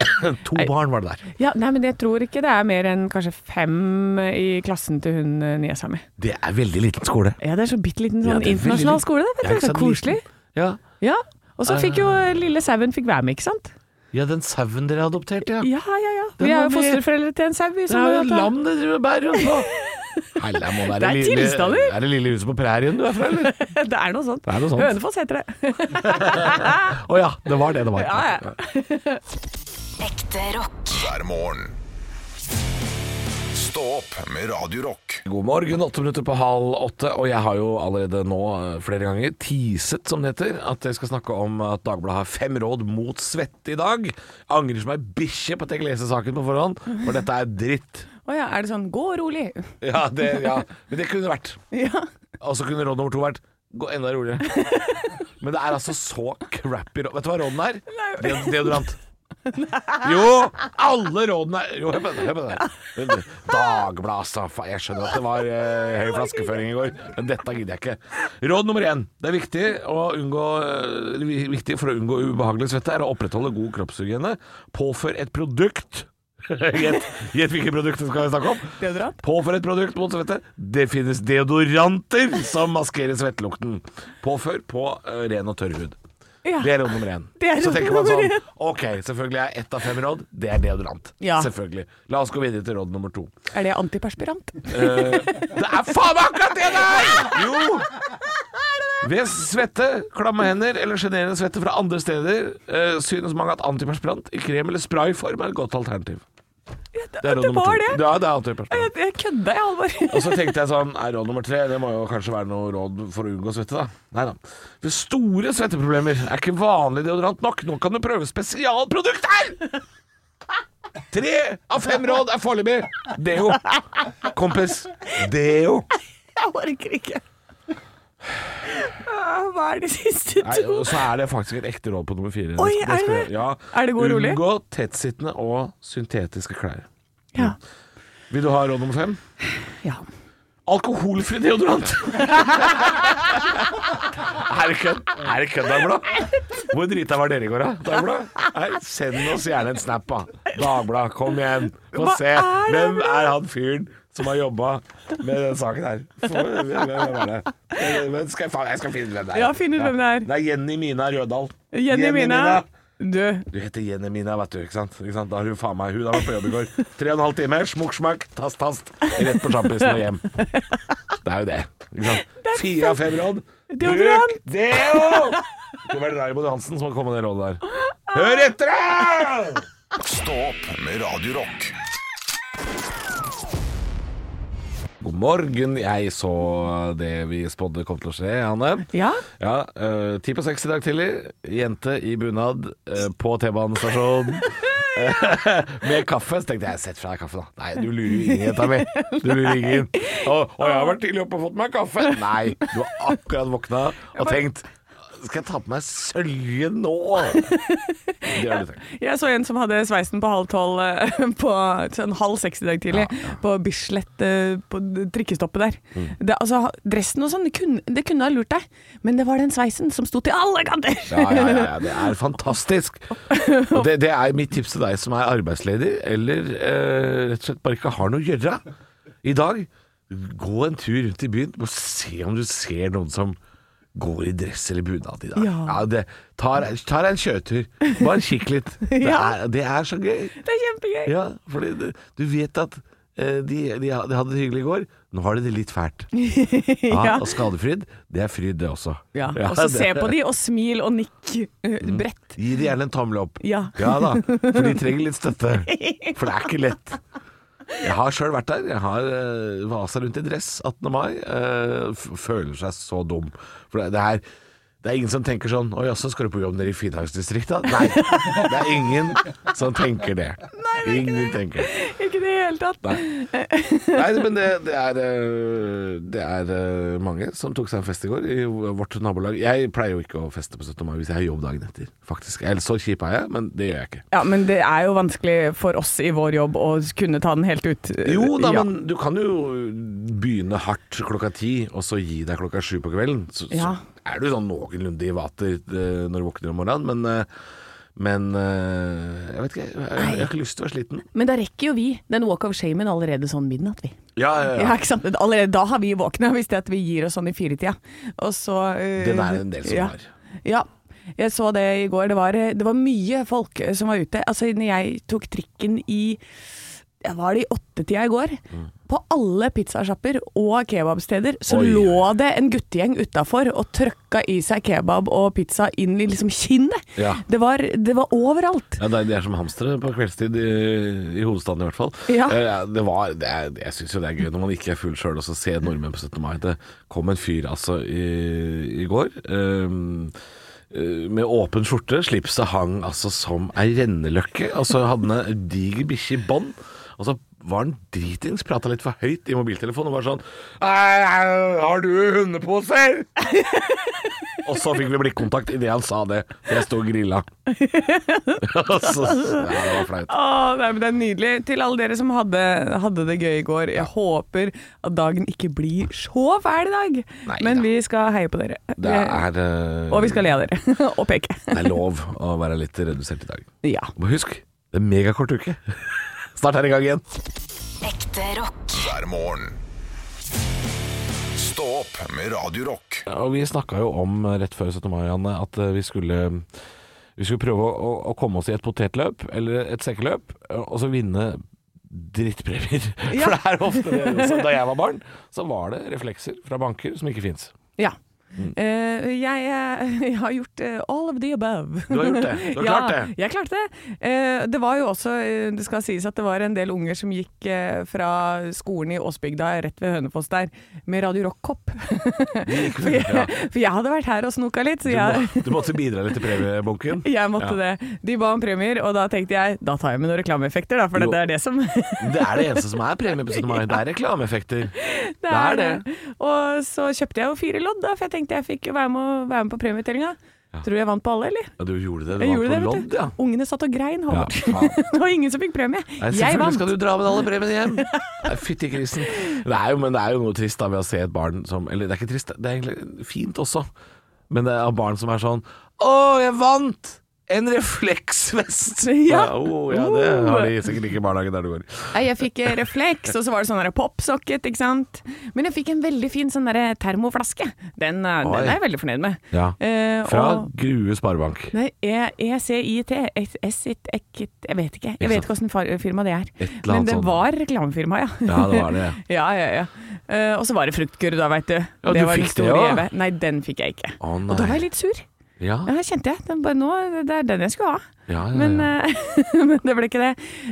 [SPEAKER 4] to barn var det der.
[SPEAKER 3] Ja, nei, men jeg tror ikke det er mer enn kanskje fem eh, i klassen til hun eh, niesa mi.
[SPEAKER 4] Det er veldig liten skole.
[SPEAKER 3] Ja, det er så bitte liten
[SPEAKER 4] Ja,
[SPEAKER 3] sånn
[SPEAKER 4] det er veldig
[SPEAKER 3] internasjonal
[SPEAKER 4] liten.
[SPEAKER 3] skole, da.
[SPEAKER 4] Ja,
[SPEAKER 3] Vet du.
[SPEAKER 4] ikke
[SPEAKER 3] Så
[SPEAKER 4] sant?
[SPEAKER 3] koselig.
[SPEAKER 4] Liten. Ja.
[SPEAKER 3] Ja. Og så fikk jo eh, lille sauen fikk være med, ikke sant?
[SPEAKER 4] ja, den sauen dere adopterte, ja.
[SPEAKER 3] Ja, ja, ja.
[SPEAKER 4] Den
[SPEAKER 3] Vi er
[SPEAKER 4] var
[SPEAKER 3] jo
[SPEAKER 4] med.
[SPEAKER 3] fosterforeldre til en sau. vi,
[SPEAKER 4] Det
[SPEAKER 3] som
[SPEAKER 4] Sånn er jo
[SPEAKER 3] har
[SPEAKER 4] et
[SPEAKER 3] tatt-
[SPEAKER 4] lam det du bærer rundt på. Helle, må være
[SPEAKER 3] Det er
[SPEAKER 4] lille-
[SPEAKER 3] tilstander.
[SPEAKER 4] Er det lille huset på prærien du er fra, eller?
[SPEAKER 3] Det er noe sånt.
[SPEAKER 4] Det er noe sånt.
[SPEAKER 3] Hønefoss heter det.
[SPEAKER 4] Å ja, det var det det var.
[SPEAKER 3] Ja, ja.
[SPEAKER 6] Ekte rock.
[SPEAKER 2] hver morgen. Stå opp med Radio Rock.
[SPEAKER 4] God morgen, åtte minutter på halv åtte, og jeg har jo allerede nå eh, flere ganger teaset, som det heter, at jeg skal snakke om at Dagbladet har fem råd mot svette i dag. Jeg Angrer som ei bikkje på at jeg ikke leser saken på forhånd, for dette er dritt.
[SPEAKER 3] Å ja, er det sånn gå rolig?
[SPEAKER 4] Ja, det, ja. Men det kunne det vært.
[SPEAKER 3] Ja.
[SPEAKER 4] Og så kunne råd nummer to vært Gå enda roligere. Men det er altså så crappy råd. Vet du hva rådene er? Deo- Deodorant. Jo! Alle rådene er Jo, hør på det. hør på det. Dagbladet, altså. faen, Jeg skjønner at det var eh, høy flaskeføring i går, men dette gidder jeg ikke. Råd nummer én. Det er viktig, å unngå, eh, viktig for å unngå ubehagelig svette er å opprettholde god kroppshygiene. Påfør et produkt Gjett gjett hvilket produkt det skal vi snakke om.
[SPEAKER 3] Deodorant?
[SPEAKER 4] Påfør et produkt mot svette. Det finnes deodoranter som maskerer svettelukten. Påfør på eh, ren og tørr hud.
[SPEAKER 3] Ja.
[SPEAKER 4] Det er råd nummer én.
[SPEAKER 3] Det er
[SPEAKER 4] Så
[SPEAKER 3] råd
[SPEAKER 4] tenker man
[SPEAKER 3] nummer
[SPEAKER 4] sånn
[SPEAKER 3] én.
[SPEAKER 4] Ok, selvfølgelig er ett av fem råd Det er deodorant.
[SPEAKER 3] Ja.
[SPEAKER 4] Selvfølgelig. La oss gå videre til råd nummer to.
[SPEAKER 3] Er det antiperspirant?
[SPEAKER 4] Eh, det er faen meg akkurat det der! Jo! Ved svette, klamme hender eller sjenerende svette fra andre steder eh, synes mange at antiperspirant i krem eller sprayform er et godt alternativ. Det
[SPEAKER 3] det var det.
[SPEAKER 4] Ja, det er antiperspirant.
[SPEAKER 3] Jeg, jeg kødda, jeg, Halvor.
[SPEAKER 4] Og så tenkte jeg sånn, er råd nummer tre, det må jo kanskje være noe råd for å unngå svette, da. Nei da. Ved store svetteproblemer er ikke vanlig deodorant nok. Nå kan du prøve spesialprodukter! Tre av fem råd er foreløpig deo. Kompis, deo.
[SPEAKER 3] Jeg orker ikke. Ah, Hva er de siste
[SPEAKER 4] Nei,
[SPEAKER 3] to?
[SPEAKER 4] og så er det faktisk et ekte råd på nummer fire.
[SPEAKER 3] Oi,
[SPEAKER 4] skal-
[SPEAKER 3] er
[SPEAKER 4] skal-
[SPEAKER 3] det?
[SPEAKER 4] Ja.
[SPEAKER 3] Er det god rolig?
[SPEAKER 4] Unngå tettsittende og syntetiske klær.
[SPEAKER 3] Ja.
[SPEAKER 4] Vil du ha råd nummer fem?
[SPEAKER 3] ja.
[SPEAKER 4] Alkoholfri deodorant! er det kødd? Er det kødd, Dagbladet? Hvor drita var dere i går, da? Dagbladet? Nei, Send oss gjerne en snap, da. Dagbladet, kom igjen. Få
[SPEAKER 3] Hva
[SPEAKER 4] se.
[SPEAKER 3] er det
[SPEAKER 4] Hvem er han fyren som har jobba med den saken her? Få- Hvem hvem er det? Hvem skal jeg, faen- jeg skal finne ut hvem det er.
[SPEAKER 3] Ja, finn ut hvem det er.
[SPEAKER 4] Det er Jenny Mina Rødahl.
[SPEAKER 3] Jenny Mina. Du,
[SPEAKER 4] Du heter Jenny Mina, vet du. ikke sant? Ikke sant? Da har hun faen meg Hun har vært på jobb i går. Tre og en halv time, smukk, smakk, tast, tast. Rett på sjampisen og hjem. Det er jo det. ikke sant? Fire av fem råd.
[SPEAKER 3] Deodorant.
[SPEAKER 4] Bruk deo! Det var Raymond Johansen som kom med det rådet der. Hør etter, da!
[SPEAKER 2] Stå opp med Radio Rock.
[SPEAKER 4] God morgen. Jeg så det vi spådde kom til å skje, Anne.
[SPEAKER 3] Ja.
[SPEAKER 4] Ja, eh, Ti på seks i dag tidlig. Jente i bunad eh, på T-banestasjonen. Med kaffe. Så tenkte jeg sett fra deg kaffe, da. Nei, du lurer jo ingen, jenta mi. Du lurer ingen. Og, og jeg har vært tidlig oppe og fått meg kaffe. Nei, du har akkurat våkna og tenkt Skal jeg ta på meg sølje nå? Det har du tenkt.
[SPEAKER 3] Jeg så en som hadde sveisen på halv tolv eh, på sånn halv seks i dag tidlig. På Bislett, eh, på d- trikkestoppet der.
[SPEAKER 4] Mm.
[SPEAKER 3] Det, altså, ha- dressen og sånn, det kunne, det kunne ha lurt deg, men det var den sveisen som sto til alle kanter!
[SPEAKER 4] Ja, ja, ja, ja, det er fantastisk. Og det, det er mitt tips til deg som er arbeidsledig, eller eh, rett og slett bare ikke har noe å gjøre i dag. Gå en tur rundt i byen og se om du ser noen som går i dress eller bunad i dag.
[SPEAKER 3] Ja.
[SPEAKER 4] det, tar, tar en kjøretur. Bare kikk litt. Det
[SPEAKER 3] Ja.
[SPEAKER 4] er, det er så gøy.
[SPEAKER 3] Det er kjempegøy!
[SPEAKER 4] Ja, fordi det, du vet at eh, de, de, ha- de hadde det hyggelig i går. Nå har de det litt fælt. Ja, og skadefryd, det er fryd, det også.
[SPEAKER 3] Ja, og så
[SPEAKER 4] Ah, altså. det- Mm.
[SPEAKER 3] se på de, og smil og nikk eh, bredt.
[SPEAKER 4] Gi det gjerne en tommel opp.
[SPEAKER 3] Ja.
[SPEAKER 4] da, for de trenger litt støtte. For det er ikke lett. Jeg har sjøl vært der. Jeg har uh, vasa rundt i dress 18. mai. eh, f- føler seg så dum. For det, det er det er ingen som tenker sånn Å jaså, skal du på jobb nede i Finnmarksdistriktet? Nei. Det er ingen som tenker det. ingen tenker det.
[SPEAKER 3] Ikke det i det hele tatt.
[SPEAKER 4] Nei, men det, det er eh, Det er eh, mange som tok seg en fest i går i vårt nabolag. Jeg pleier jo ikke å feste på 17. mai hvis jeg har jobb dagen etter, faktisk. Eller så kjip er jeg, men det gjør jeg ikke.
[SPEAKER 3] Ja, men det er jo vanskelig for oss i vår jobb å kunne ta den helt ut. eh,
[SPEAKER 4] Jo da,
[SPEAKER 3] ja.
[SPEAKER 4] men du kan jo begynne hardt klokka ti, og så gi deg klokka sju på kvelden. Så,
[SPEAKER 3] Ja.
[SPEAKER 4] så er du sånn noenlunde i vater eh, når du våkner om morgenen, men eh, men eh, jeg vet ikke, jeg, jeg har ikke lyst til å være sliten.
[SPEAKER 3] Men da rekker jo vi den walk of shamen allerede sånn midnatt, vi.
[SPEAKER 4] Ja,
[SPEAKER 3] Ja. ikke sant? Allerede da har vi våkna, hvis det er at vi gir oss sånn i firetida. Og så eh,
[SPEAKER 4] Den er det en del som
[SPEAKER 3] ja.
[SPEAKER 4] har.
[SPEAKER 3] Ja. Jeg så det i går. Det var, eh, det var mye folk eh, som var ute. Altså, når jeg tok trikken i ja, Var det i åttetida i går?
[SPEAKER 4] Mm.
[SPEAKER 3] På alle pizzasjapper og kebabsteder så
[SPEAKER 4] Oi, oi.
[SPEAKER 3] lå det en guttegjeng utafor og trøkka i seg kebab og pizza inn i liksom kinnet.
[SPEAKER 4] Ja.
[SPEAKER 3] Det, var, det var overalt.
[SPEAKER 4] Ja, det er, det er som hamstere på kveldstid i, i hovedstaden i hvert fall.
[SPEAKER 3] Ja.
[SPEAKER 4] Eh, Det var, det er, jeg syns jo det er gøy når man ikke er full sjøl og så ser nordmenn på 17. mai. Det kom en fyr altså i, i går ehm, eh, med åpen skjorte. Slipset hang altså som ei renneløkke. Og så hadde han ei diger bikkje i bånd. Og så var han dritings, prata litt for høyt i mobiltelefonen og var sånn «Ei, ei, Har du hundeposer? og så fikk vi blikkontakt idet han sa det. for Jeg sto og grilla. Og så- ja, det var flaut.
[SPEAKER 3] Åh, nei, men det er nydelig. Til alle dere som hadde, hadde det gøy i går. Jeg håper at dagen ikke blir så fæl i dag.
[SPEAKER 4] Nei
[SPEAKER 3] men
[SPEAKER 4] da.
[SPEAKER 3] vi skal heie på dere.
[SPEAKER 4] Det er, eh,
[SPEAKER 3] Og vi skal le av dere. og peke.
[SPEAKER 4] det er lov å være litt redusert i dag.
[SPEAKER 3] Ja.
[SPEAKER 4] Og husk, det er megakort uke. Snart er det i gang igjen.
[SPEAKER 6] Ekte rock.
[SPEAKER 2] hver morgen. Stå opp med Radio Rock.
[SPEAKER 4] Og vi snakka jo om eh, rett før 17. mai, Anne, at eh, vi skulle vi skulle prøve å, å, å komme oss i et potetløp eller et sekkeløp, eh, og så vinne drittpremier. For det er ofte det. Så da jeg var barn, så var det reflekser fra banker som ikke fins.
[SPEAKER 3] ja. Eh, jeg, eh, jeg har gjort eh, all of the above.
[SPEAKER 4] Du har gjort det. Du har
[SPEAKER 3] ja,
[SPEAKER 4] klart det.
[SPEAKER 3] Jeg klarte det. Eh, det var jo også, eh, det skal sies at det var en del unger som gikk eh, fra skolen i Åsbygda rett ved Hønefoss der med Radio Rock-kopp. for, jeg-
[SPEAKER 4] Ja.
[SPEAKER 3] for jeg hadde vært her og snoka litt, så
[SPEAKER 4] Du,
[SPEAKER 3] jeg,
[SPEAKER 4] må, du måtte bidra litt til premiebunken?
[SPEAKER 3] jeg måtte
[SPEAKER 4] Ja.
[SPEAKER 3] det. De ba om premier, og da tenkte jeg da tar jeg med noen reklameeffekter, da, for
[SPEAKER 4] Jo.
[SPEAKER 3] det er det som
[SPEAKER 4] Det er det eneste som er premie på 17. mai. Det er reklameeffekter. Det er det.
[SPEAKER 3] Og så kjøpte jeg jo fire lodd, da, for jeg tenkte jeg fikk jo være med, å- være med på premieutdelinga. Tror du jeg vant på alle, eller?
[SPEAKER 4] Ja, du gjorde det. Du
[SPEAKER 3] Jeg
[SPEAKER 4] vant
[SPEAKER 3] gjorde det,
[SPEAKER 4] på
[SPEAKER 3] vet
[SPEAKER 4] lodd,
[SPEAKER 3] du.
[SPEAKER 4] ja.
[SPEAKER 3] Ungene satt og grein, Håvard.
[SPEAKER 4] Ja, faen.
[SPEAKER 3] det var ingen som fikk premie.
[SPEAKER 4] Nei,
[SPEAKER 3] jeg
[SPEAKER 4] selvfølgelig
[SPEAKER 3] vant.
[SPEAKER 4] skal du dra med alle premiene hjem! Nei, Fytti grisen. Det er jo, men det er jo noe trist da ved å se et barn som Eller det er ikke trist, det er egentlig fint også. Men det er av barn som er sånn Å, jeg vant! En refleksvest!
[SPEAKER 3] Ja. Oh.
[SPEAKER 4] å, ja det har de sikkert ikke i barnehagen der du går.
[SPEAKER 3] Nei, Jeg fikk eh, refleks, og så var det sånn der popsocket, ikke sant. Men jeg fikk en veldig fin sånn der termoflaske. Den, eh,
[SPEAKER 4] Oi.
[SPEAKER 3] den er jeg veldig fornøyd med.
[SPEAKER 4] Ja.
[SPEAKER 3] Eh,
[SPEAKER 4] Fra
[SPEAKER 3] og,
[SPEAKER 4] Grue Sparebank.
[SPEAKER 3] Nei, E- ECIT S-it, ekkit, Jeg vet ikke Jeg vet ikke åssen far- firma det er.
[SPEAKER 4] Et eller annet
[SPEAKER 3] Men det
[SPEAKER 4] sånt.
[SPEAKER 3] var reklamefirma, ja.
[SPEAKER 4] Ja, det var det.
[SPEAKER 3] Ja, ja, ja. Eh, og så var det fruktkurv, da, veit du.
[SPEAKER 4] Ja, du
[SPEAKER 3] det var
[SPEAKER 4] fikk det,
[SPEAKER 3] store
[SPEAKER 4] ja.
[SPEAKER 3] gjeve. Nei, den fikk jeg ikke.
[SPEAKER 4] Å, nei.
[SPEAKER 3] og da var jeg litt sur.
[SPEAKER 4] Ja,
[SPEAKER 3] Ja, det kjente jeg. Den bare, nå, det er den jeg skulle ha.
[SPEAKER 4] ja, ja,
[SPEAKER 3] Men,
[SPEAKER 4] ja.
[SPEAKER 3] eh, men det ble ikke det.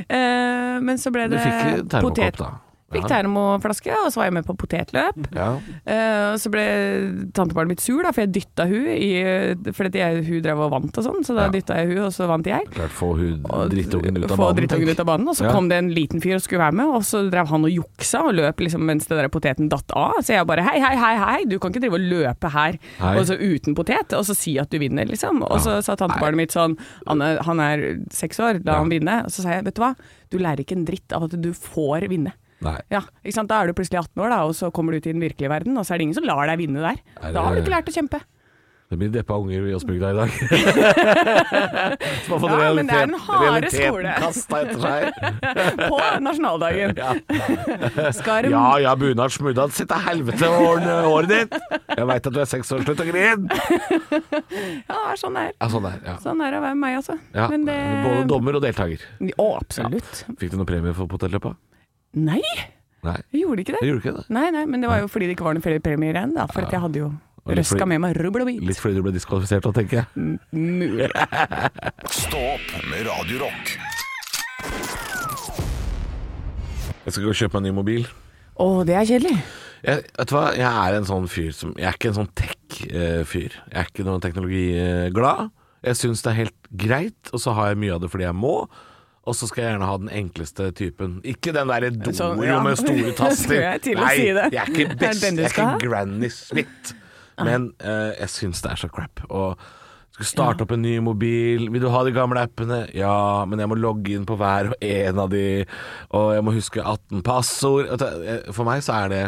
[SPEAKER 3] Eh, men så ble
[SPEAKER 4] Du
[SPEAKER 3] det
[SPEAKER 4] fikk litt termokopp,
[SPEAKER 3] potet-
[SPEAKER 4] da.
[SPEAKER 3] Fikk
[SPEAKER 4] Ja.
[SPEAKER 3] termoflaske, og så var jeg med på potetløp.
[SPEAKER 4] Ja.
[SPEAKER 3] Eh, og så ble tantebarnet mitt sur, da, for jeg dytta hun i Fordi jeg, hun drev og vant og sånn, så da
[SPEAKER 4] Ja.
[SPEAKER 3] dytta jeg hun, og så vant jeg.
[SPEAKER 4] Klart få hun drittungen ut av
[SPEAKER 3] Få
[SPEAKER 4] banen.
[SPEAKER 3] drittungen
[SPEAKER 4] tenk.
[SPEAKER 3] ut av banen. Og så
[SPEAKER 4] Ja.
[SPEAKER 3] kom det en liten fyr og skulle være med, og så drev han og juksa og løp liksom mens den der poteten datt av. Så jeg bare hei, hei, hei, hei, du kan ikke drive og løpe her
[SPEAKER 4] Hei.
[SPEAKER 3] og så uten potet, og så si at du vinner, liksom. Og så sa tantebarnet mitt sånn, han er, han er seks år, la
[SPEAKER 4] Ja.
[SPEAKER 3] han vinne. Og så sa jeg, vet du hva, du lærer ikke en dritt av at du får vinne.
[SPEAKER 4] Nei.
[SPEAKER 3] Ja, ikke sant? Da er du plutselig 18 år, da, og så kommer du ut i den virkelige verden, og så er det ingen som lar deg vinne der.
[SPEAKER 4] Nei,
[SPEAKER 3] Da har du
[SPEAKER 4] det-
[SPEAKER 3] ikke lært å kjempe.
[SPEAKER 4] Det blir deppa unger i Åsbygda i dag. Som har fått
[SPEAKER 3] Ja, men det er den
[SPEAKER 4] realitet-
[SPEAKER 3] harde
[SPEAKER 4] realiteten
[SPEAKER 3] skole.
[SPEAKER 4] kastet etter seg.
[SPEAKER 3] På nasjonaldagen. Skal de
[SPEAKER 4] Ja ja, bunad, smudad, sitt til helvete og ordne håret ditt! Jeg veit at du er seks år, slutt å grine!
[SPEAKER 3] Ja, det er sånn det er.
[SPEAKER 4] Ja, sånn der. Ja.
[SPEAKER 3] Sånn er det å være meg, altså.
[SPEAKER 4] Ja.
[SPEAKER 3] Men det
[SPEAKER 4] Både dommer og deltaker.
[SPEAKER 3] Å, absolutt.
[SPEAKER 4] Fikk du noe premie for potelløpet?
[SPEAKER 3] Nei,
[SPEAKER 4] Nei,
[SPEAKER 3] jeg gjorde ikke det.
[SPEAKER 4] jeg gjorde ikke det.
[SPEAKER 3] Nei, nei, men det var jo fordi det ikke var noen flere premier igjen, da. For at jeg hadde jo
[SPEAKER 4] litt
[SPEAKER 3] røska
[SPEAKER 4] fordi-
[SPEAKER 3] med meg rubbel og
[SPEAKER 4] Litt
[SPEAKER 3] bit.
[SPEAKER 4] fordi du ble diskvalifisert da, tenker jeg.
[SPEAKER 3] Mm. Mulig.
[SPEAKER 2] Stå opp med Radio Rock.
[SPEAKER 4] Jeg skal gå og kjøpe meg en ny mobil.
[SPEAKER 3] Å, det er kjedelig.
[SPEAKER 4] Jeg, vet du hva, jeg er en sånn fyr som Jeg er ikke en sånn tech-fyr. Jeg er ikke noen teknologiglad. Jeg syns det er helt greit, og så har jeg mye av det fordi jeg må. Og så skal jeg gjerne ha den enkleste typen. Ikke den derre Doro
[SPEAKER 3] Sånn, ja.
[SPEAKER 4] med store taster.
[SPEAKER 3] Skulle jeg til å
[SPEAKER 4] Nei,
[SPEAKER 3] si det.
[SPEAKER 4] jeg er ikke best.
[SPEAKER 3] Er det den du
[SPEAKER 4] Jeg er
[SPEAKER 3] skal
[SPEAKER 4] ikke
[SPEAKER 3] ha?
[SPEAKER 4] Granny Smith. Men eh, jeg syns det er så crap. Og skal starte opp en ny mobil. Vil du ha de gamle appene? Ja, men jeg må logge inn på hver og en av de. Og jeg må huske 18 passord. Vet du, eh, For meg så er det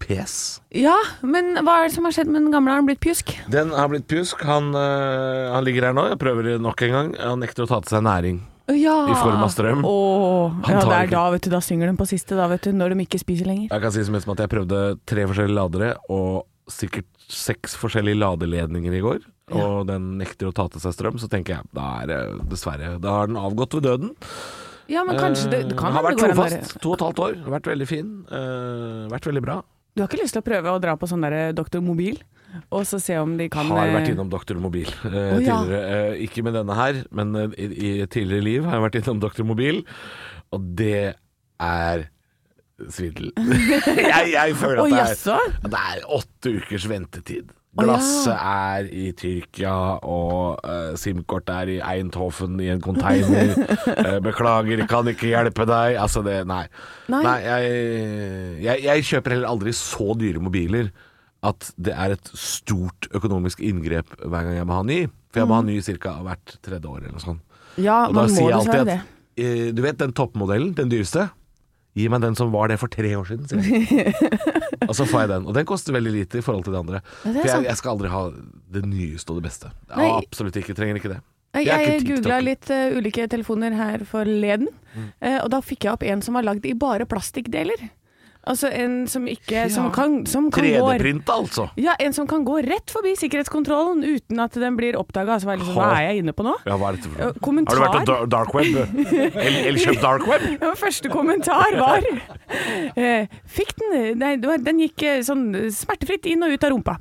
[SPEAKER 4] PS.
[SPEAKER 3] Ja, men hva er det som har skjedd med den gamle? Har den blitt pjusk?
[SPEAKER 4] Den har blitt pjusk. Han, eh, han ligger her nå. Jeg prøver nok en gang. Han nekter å ta til seg næring.
[SPEAKER 3] Ja.
[SPEAKER 4] I form av strøm.
[SPEAKER 3] Åh,
[SPEAKER 4] Han
[SPEAKER 3] ja,
[SPEAKER 4] tar
[SPEAKER 3] det er
[SPEAKER 4] ikke-
[SPEAKER 3] da, vet du. Da synger den på siste, da, vet du. Når de ikke spiser lenger.
[SPEAKER 4] Jeg kan si som helst som at jeg prøvde tre forskjellige ladere og sikkert seks forskjellige ladeledninger i går. Og den nekter å ta til seg strøm, så tenker jeg da er det dessverre Da har den avgått ved døden.
[SPEAKER 3] Ja, men kanskje det, det
[SPEAKER 4] Eh,
[SPEAKER 3] kan hende
[SPEAKER 4] har vært
[SPEAKER 3] det går an å
[SPEAKER 4] trofast. To og et halvt år. Har vært veldig fin. eh, vært veldig bra.
[SPEAKER 3] Du har ikke lyst til å prøve å dra på sånn der Doktor Mobil, og så se om de kan
[SPEAKER 4] Har vært
[SPEAKER 3] eh,
[SPEAKER 4] innom Doktor Mobil eh,
[SPEAKER 3] Å, ja.
[SPEAKER 4] tidligere. Eh, ikke med denne her, men eh, i, i tidligere liv har jeg vært innom Doktor Mobil, og det er svindel. jeg, jeg føler
[SPEAKER 3] Å,
[SPEAKER 4] at det er
[SPEAKER 3] jaså?
[SPEAKER 4] Det er åtte ukers ventetid.
[SPEAKER 3] Å, ja.
[SPEAKER 4] Glasset er i Tyrkia, og eh, SIM-kort er i Eindhoven i en container. Eh, beklager, kan ikke hjelpe deg. Altså, det Nei.
[SPEAKER 3] Nei.
[SPEAKER 4] jeg, jeg, jeg kjøper heller aldri så dyre mobiler at det er et stort økonomisk inngrep hver gang jeg må ha ny. For jeg må ha ny ca. hvert tredje år eller noe sånt.
[SPEAKER 3] Ja,
[SPEAKER 4] Og da
[SPEAKER 3] man må
[SPEAKER 4] sier jeg
[SPEAKER 3] dessverre
[SPEAKER 4] alltid
[SPEAKER 3] det.
[SPEAKER 4] at eh, Du vet den toppmodellen, den dyreste? Gi meg den som var det for tre år siden, sier jeg. og så får jeg den. Og den koster veldig lite i forhold til det andre.
[SPEAKER 3] Ja, det er
[SPEAKER 4] for jeg,
[SPEAKER 3] sant.
[SPEAKER 4] jeg skal aldri ha det nyeste og det beste.
[SPEAKER 3] Nei.
[SPEAKER 4] Absolutt ikke. Trenger ikke det.
[SPEAKER 3] Jeg,
[SPEAKER 4] er ikke
[SPEAKER 3] jeg
[SPEAKER 4] TikToker.
[SPEAKER 3] googla litt eh, ulike telefoner her forleden,
[SPEAKER 4] Mm.
[SPEAKER 3] eh, og da fikk jeg opp en som var lagd i bare plastikkdeler. Altså en som ikke Som kan, som kan gå
[SPEAKER 4] 3D-print, altså.
[SPEAKER 3] ja, en som kan gå rett forbi sikkerhetskontrollen uten at den blir oppdaga. Altså, hva er det- hva er jeg inne på nå?
[SPEAKER 4] Ja, hva er dette for
[SPEAKER 3] Ja,
[SPEAKER 4] noe?
[SPEAKER 3] kommentar.
[SPEAKER 4] Har du vært på dar- dark web? Eller eller kjøpt dark web?
[SPEAKER 3] Ja, Første kommentar var eh, Fikk den Nei, det var- den gikk eh, sånn smertefritt inn og ut av rumpa.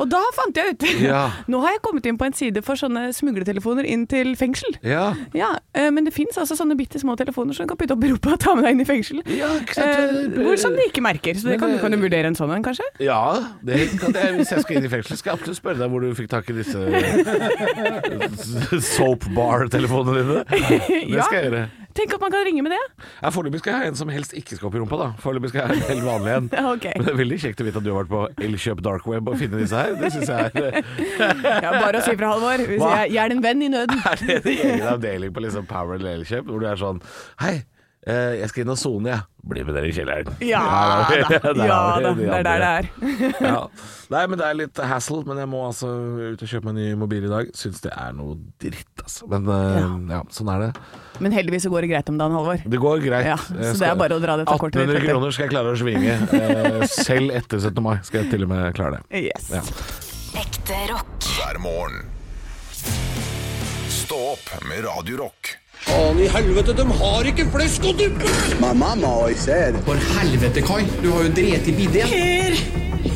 [SPEAKER 3] Og da fant jeg ut
[SPEAKER 4] Ja.
[SPEAKER 3] Nå har jeg kommet inn på en side for sånne smugletelefoner inn til fengsel.
[SPEAKER 4] Ja.
[SPEAKER 3] Ja, eh, men det fins altså sånne bitte små telefoner som du kan putte opp i rumpa og ta med deg inn i fengsel.
[SPEAKER 4] Ja, ikke sant?
[SPEAKER 3] Eh, hvor som de ikke merker. Så det
[SPEAKER 4] Men
[SPEAKER 3] kan,
[SPEAKER 4] det-
[SPEAKER 3] kan du vurdere en sånn en, kanskje?
[SPEAKER 4] Ja, det kan jeg, hvis jeg skal inn i fengsel, skal jeg absolutt spørre deg hvor du fikk tak i disse soapbar-telefonene dine. Det skal jeg gjøre.
[SPEAKER 3] Tenk at man kan ringe med det.
[SPEAKER 4] Ja, Foreløpig skal jeg ha en som helst ikke skal opp i rumpa, da. Foreløpig skal jeg ha en helt vanlig en.
[SPEAKER 3] Ja, ok.
[SPEAKER 4] Men det er veldig kjekt å vite at du har vært på Elkjøp dark web og finne disse her. Det syns jeg er
[SPEAKER 3] Ja, bare å si fra, Halvor. Hvis
[SPEAKER 4] Hva?
[SPEAKER 3] jeg, jeg er en venn i nøden.
[SPEAKER 4] Er det en egen avdeling på liksom Power eller Elkjøp hvor du er sånn Hei, eh, jeg skal inn og sone, jeg. Bli med dere i kjelleren.
[SPEAKER 3] Ja
[SPEAKER 4] Der har vi-
[SPEAKER 3] da.
[SPEAKER 4] der
[SPEAKER 3] Ja
[SPEAKER 4] har vi
[SPEAKER 3] da.
[SPEAKER 4] de
[SPEAKER 3] Det er der det
[SPEAKER 4] andre.
[SPEAKER 3] er.
[SPEAKER 4] Ja. Nei, men det er litt hassle, men jeg må altså ut og kjøpe meg ny mobil i dag. Syns det er noe dritt, altså. Men eh, ja, sånn er det.
[SPEAKER 3] Men heldigvis så går det greit om dagen, Halvor.
[SPEAKER 4] Det går greit.
[SPEAKER 3] Ja,
[SPEAKER 4] Jeg
[SPEAKER 3] så det
[SPEAKER 4] skal-
[SPEAKER 3] er bare å dra dette kortet litt
[SPEAKER 4] 1800
[SPEAKER 3] etter.
[SPEAKER 4] kroner skal jeg klare å svinge. eh, Selv etter 17. mai skal jeg til og med klare det.
[SPEAKER 3] Yes.
[SPEAKER 4] Ja.
[SPEAKER 6] Ekte rock.
[SPEAKER 2] hver morgen. Stå opp med Radio Rock.
[SPEAKER 7] Faen i helvete, de har ikke flesk og duppe!
[SPEAKER 8] My mama always said,
[SPEAKER 7] For helvete, Kai. Du har jo drept i bidé.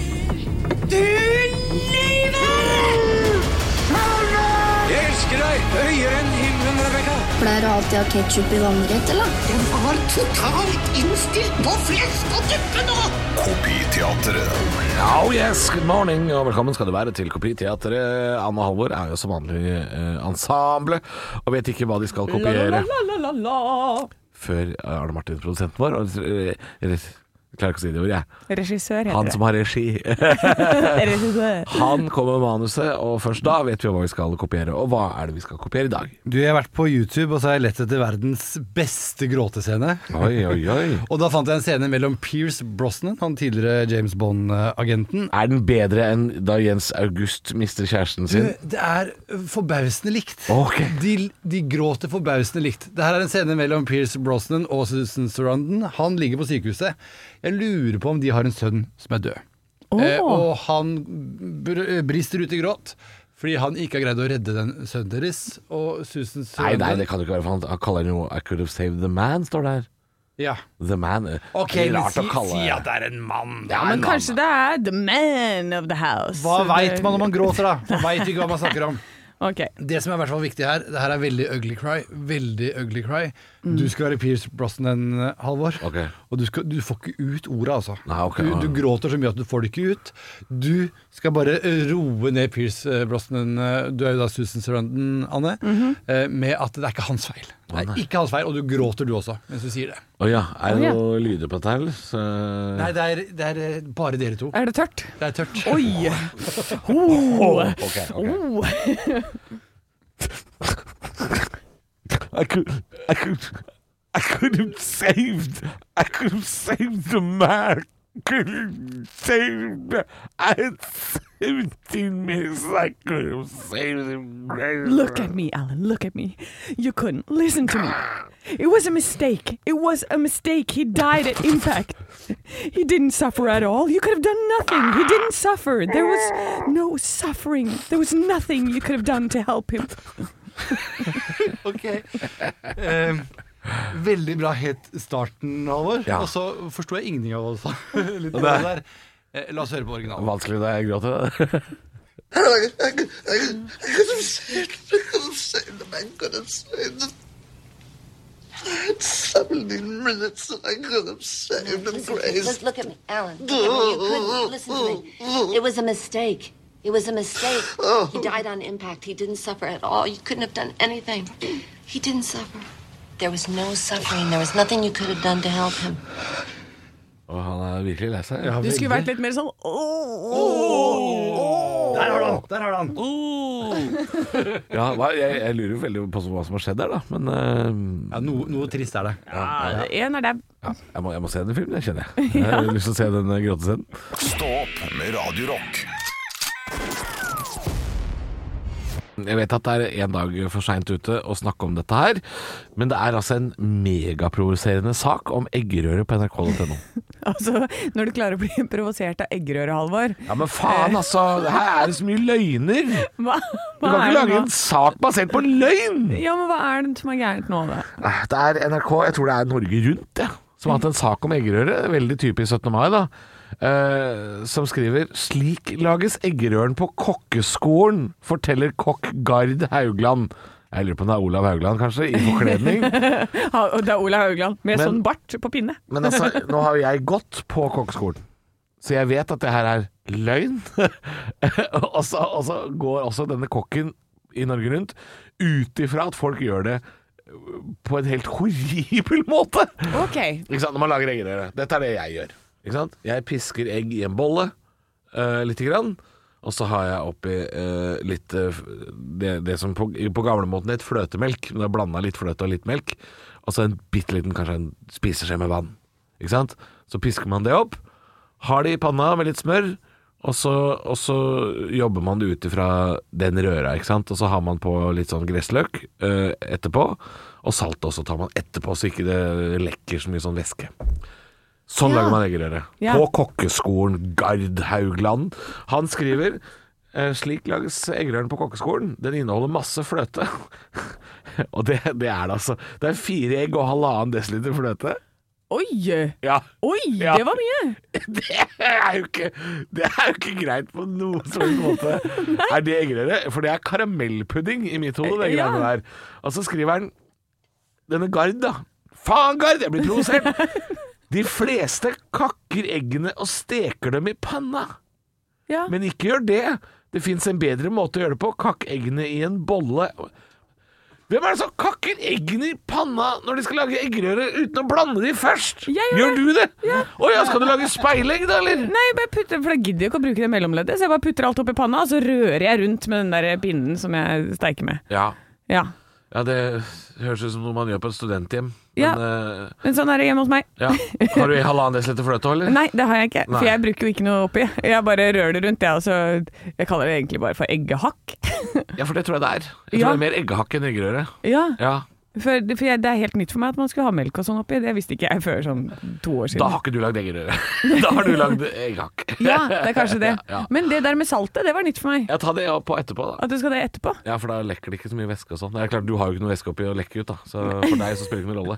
[SPEAKER 7] Jeg elsker deg høyere enn himmelen, Rebekka.
[SPEAKER 9] Pleier du alltid å ha ketsjup i vannrett, eller?
[SPEAKER 7] Den var totalt innstilt på flesk og duppe nå!
[SPEAKER 2] Kopiteatret.
[SPEAKER 4] Oh yes, good morning og velkommen skal du være til Kopiteatret. Anne og Halvor er jo som vanlig eh, ensemble og vet ikke hva de skal kopiere før Arne Martin, produsenten vår og, eh, eller, jeg Klarer ikke å si det ordet, jeg.
[SPEAKER 3] Regissør
[SPEAKER 4] Han
[SPEAKER 3] heter
[SPEAKER 4] som har regi.
[SPEAKER 3] det. Regissør.
[SPEAKER 4] Han er kommer med manuset, og først da vet vi hva vi skal kopiere. Og hva er det vi skal kopiere i dag?
[SPEAKER 10] Du, jeg har vært på YouTube og så har jeg lett etter verdens beste gråtescene.
[SPEAKER 4] Oi, oi, oi.
[SPEAKER 10] Og da fant jeg en scene mellom Pierce Brosnan, han tidligere James Bond-agenten.
[SPEAKER 4] Er den bedre enn da Jens August mister kjæresten
[SPEAKER 10] Du,
[SPEAKER 4] sin?
[SPEAKER 10] Det er forbausende likt.
[SPEAKER 4] Ok.
[SPEAKER 10] De, de gråter forbausende likt. Det her er en scene mellom Pierce Brosnan og Susan Surrandon. Han ligger på sykehuset. Jeg lurer på om de har en sønn som er død. Eh, og han br eh, brister ut i gråt fordi han ikke har greid å redde den sønnen deres. Og Susan
[SPEAKER 4] Nei,
[SPEAKER 10] Surrandon
[SPEAKER 4] nei, det kan det ikke være, for han- han kaller den jo 'I could have saved the man', står det her.
[SPEAKER 10] Ja.
[SPEAKER 4] The man. eh,
[SPEAKER 10] Ok,
[SPEAKER 4] det er
[SPEAKER 10] men
[SPEAKER 4] rart
[SPEAKER 10] si,
[SPEAKER 4] å kalle
[SPEAKER 10] si at det er en mann.
[SPEAKER 4] Ja,
[SPEAKER 3] Men kanskje det er the man of the house.
[SPEAKER 10] Hva
[SPEAKER 3] Så
[SPEAKER 10] veit
[SPEAKER 3] det-
[SPEAKER 10] man når man gråter, da? Man veit ikke hva man snakker om.
[SPEAKER 3] Ok.
[SPEAKER 10] Det som er i hvert fall viktig her, det her er veldig ugly cry. Veldig ugly cry. Du skal være Pierce Brosnan, eh, Halvor.
[SPEAKER 4] Ok.
[SPEAKER 10] Og du, skal, du får ikke ut ordet, altså.
[SPEAKER 4] Nei, ok, ja.
[SPEAKER 10] du, du gråter så mye at du får det ikke ut. Du skal bare eh, roe ned Pierce eh, Brosnan, eh, du er jo da Susan Surrandon, Anne, eh, med at det er ikke hans feil. Det er ikke hans feil, og du gråter du også mens du sier det.
[SPEAKER 4] Å ja, er
[SPEAKER 3] Å
[SPEAKER 4] det
[SPEAKER 3] ja.
[SPEAKER 4] noe lyder på dette her? eller? Så...
[SPEAKER 10] Nei, det er, det er eh, bare dere to.
[SPEAKER 3] Er det tørt?
[SPEAKER 10] Det er tørt.
[SPEAKER 3] Oi! Oh.
[SPEAKER 4] Ok, ok.
[SPEAKER 3] Oh.
[SPEAKER 4] I could, I could, I could have saved, I could have saved the man. Could have saved, I had 17 minutes, I could have saved him.
[SPEAKER 3] Look at me, Alan. Look at me. You couldn't listen to me. It was a mistake. It was a mistake. He died at impact. He didn't suffer at all. You could have done nothing. He didn't suffer. There was no suffering. There was nothing you could have done to help him.
[SPEAKER 10] Ok. Ehm, veldig bra helt starten, Halvor.
[SPEAKER 4] Ja.
[SPEAKER 10] Og så forsto jeg ingenting av hva du sa. Litt av det der. Eh, La oss høre på originalen.
[SPEAKER 4] Vanskelig da jeg gråter.
[SPEAKER 11] Just look at me, Alan. Look at me. You couldn't listen to me. It was a mistake. It was a mistake. He died on impact. He didn't suffer at all. You couldn't have done anything. He didn't suffer. There was no suffering. There was nothing you could have done to help him.
[SPEAKER 4] Og han er virkelig lei seg.
[SPEAKER 3] Du skulle vært litt mer sånn åh.
[SPEAKER 10] Der har du han! Der har du han.
[SPEAKER 4] Ja, hva- jeg, jeg lurer jo veldig på hva som har skjedd der, da. Men eh,
[SPEAKER 10] Ja, noe, noe trist er det.
[SPEAKER 3] En er der.
[SPEAKER 4] ja, jeg, må, jeg må se den filmen, jeg kjenner jeg. Jeg har lyst til å se den eh, gråtescenen.
[SPEAKER 2] Stå opp med Radio Rock.
[SPEAKER 4] Jeg vet at det er en dag for seint ute å snakke om dette her, men det er altså en megaprovoserende sak om eggerøre på nrk.no.
[SPEAKER 3] Altså, når du klarer å bli provosert av eggerøre, Halvor.
[SPEAKER 4] Ja, men faen, altså! Her er det så mye løgner! Du
[SPEAKER 3] Eh, Hva, hva er
[SPEAKER 4] kan ikke
[SPEAKER 3] det
[SPEAKER 4] lage
[SPEAKER 3] nå?
[SPEAKER 4] en sak basert på løgn!
[SPEAKER 3] Ja, men hva er det som er gærent nå, da?
[SPEAKER 4] Ah, Det er NRK, jeg tror det er Norge Rundt, jeg, som har hatt en sak om eggerøre. Veldig typisk 17. mai, da. eh, som skriver Slik lages eggerøren på kokkeskolen, forteller kokk Gard Haugland. Jeg lurer på om det er Olav Haugland, kanskje, i forkledning.
[SPEAKER 3] Ha- og Det er Ola Haugland med
[SPEAKER 4] Men-
[SPEAKER 3] sånn bart på pinne.
[SPEAKER 4] Men altså, nå har jo jeg gått på kokkeskolen, så jeg vet at det her er løgn. og, så, og så går også denne kokken i Norge rundt ut ifra at folk gjør det på en helt horribel måte.
[SPEAKER 3] Ok.
[SPEAKER 4] Ikke sant? Når man lager eggerøre. Dette er det jeg gjør. Ikke sant? Jeg pisker egg i en bolle uh, lite grann. Og så har jeg oppi eh, litt eh, det, det som på, på gamlemåten het fløtemelk. Men jeg blanda litt fløte og litt melk. Og så en bitte liten, kanskje en spiseskje med vann. Ikke sant? Så pisker man det opp. Har det i panna med litt smør. Og så, og så jobber man det ut ifra den røra, ikke sant. Og så har man på litt sånn gressløk eh, etterpå. Og salt også tar man etterpå, så ikke det lekker så mye sånn væske. Sånn
[SPEAKER 3] Ja.
[SPEAKER 4] lager man eggerøre.
[SPEAKER 3] Ja.
[SPEAKER 4] På kokkeskolen Gard Haugland. Han skriver eh, slik lages eggerøren på kokkeskolen. Den inneholder masse fløte. og det, det er det, altså. Det er fire egg og halvannen desiliter fløte.
[SPEAKER 3] Oi!
[SPEAKER 4] Ja.
[SPEAKER 3] Oi,
[SPEAKER 4] Ja.
[SPEAKER 3] det var mye!
[SPEAKER 4] Det er jo ikke, det er jo ikke greit på noen som helst måte. er det eggerøre? For det er karamellpudding i mitt hode, det
[SPEAKER 3] Ja.
[SPEAKER 4] greiene der. Og så skriver han denne Gard, da. Faen, Gard! Jeg blir provosert! De fleste kakker eggene og steker dem i panna.
[SPEAKER 3] Ja.
[SPEAKER 4] Men ikke gjør det. Det fins en bedre måte å gjøre det på. Kakk eggene i en bolle. Hvem er det som kakker eggene i panna når de skal lage eggerøre uten å blande de først?
[SPEAKER 3] Jeg gjør
[SPEAKER 4] gjør
[SPEAKER 3] det.
[SPEAKER 4] du det? Å ja, skal du lage speilegg da, eller?
[SPEAKER 3] Nei, jeg bare putter, for da gidder jeg ikke å bruke det mellomleddet, så jeg bare putter alt opp i panna, og så rører jeg rundt med den der pinnen som jeg steiker med.
[SPEAKER 4] Ja.
[SPEAKER 3] Ja.
[SPEAKER 4] ja, det høres ut som noe man gjør på et studenthjem.
[SPEAKER 3] Ja.
[SPEAKER 4] Men, eh,
[SPEAKER 3] Men sånn er det hjemme hos meg.
[SPEAKER 4] ja. Har du i halvannen desiliter fløte òg, eller?
[SPEAKER 3] Nei, det har jeg ikke, for
[SPEAKER 4] Nei.
[SPEAKER 3] jeg bruker jo ikke noe oppi. Jeg bare rører det rundt, jeg, og så Jeg kaller det egentlig bare for eggehakk.
[SPEAKER 4] Ja, for det tror jeg det er. Jeg tror
[SPEAKER 3] Ja.
[SPEAKER 4] det er mer eggehakk enn eggerøre.
[SPEAKER 3] ja,
[SPEAKER 4] Ja.
[SPEAKER 3] for, for jeg, det er helt nytt for meg at man skulle ha melk og sånn oppi. Det visste ikke jeg før sånn to år
[SPEAKER 4] Da
[SPEAKER 3] siden.
[SPEAKER 4] har ikke du lagd eggerøre. Da har du lagd egghakk.
[SPEAKER 3] Ja, det er kanskje det.
[SPEAKER 4] Ja, ja.
[SPEAKER 3] Men det der med saltet, det var nytt for meg.
[SPEAKER 4] Ja, ta det på etterpå, da.
[SPEAKER 3] At du skal ha det etterpå.
[SPEAKER 4] Ja, for da lekker det ikke så mye væske og sånn. Det er klart, Du har jo ikke noe væske oppi å lekke ut, da. Så for deg så spiller det ikke noen rolle.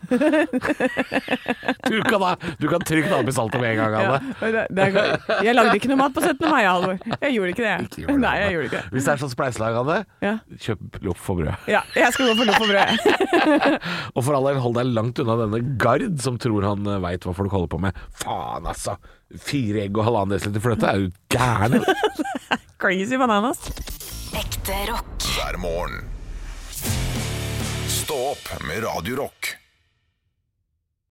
[SPEAKER 4] Du kan, da, du kan trygt ha oppi saltet med en gang,
[SPEAKER 3] Ja,
[SPEAKER 4] Anne.
[SPEAKER 3] det, det er godt. jeg lagde ikke noe mat på 17. mai, Halvor. Jeg gjorde ikke det.
[SPEAKER 4] Ikke gjør det,
[SPEAKER 3] Nei, jeg
[SPEAKER 4] Anne.
[SPEAKER 3] gjorde ikke det.
[SPEAKER 4] Hvis det er sånn spleiselag, Anne,
[SPEAKER 3] Ja.
[SPEAKER 4] kjøp loff for brød.
[SPEAKER 3] Ja, jeg skal gå for loff og brød.
[SPEAKER 4] Og for all del, hold deg langt unna denne gard som tror han veit hva folk holder på med. Faen, altså! Fire egg og halvannen desiliter fløte er jo gæren.
[SPEAKER 3] Crazy bananas.
[SPEAKER 6] Ekte rock.
[SPEAKER 2] hver morgen. Stå opp med Radio Rock.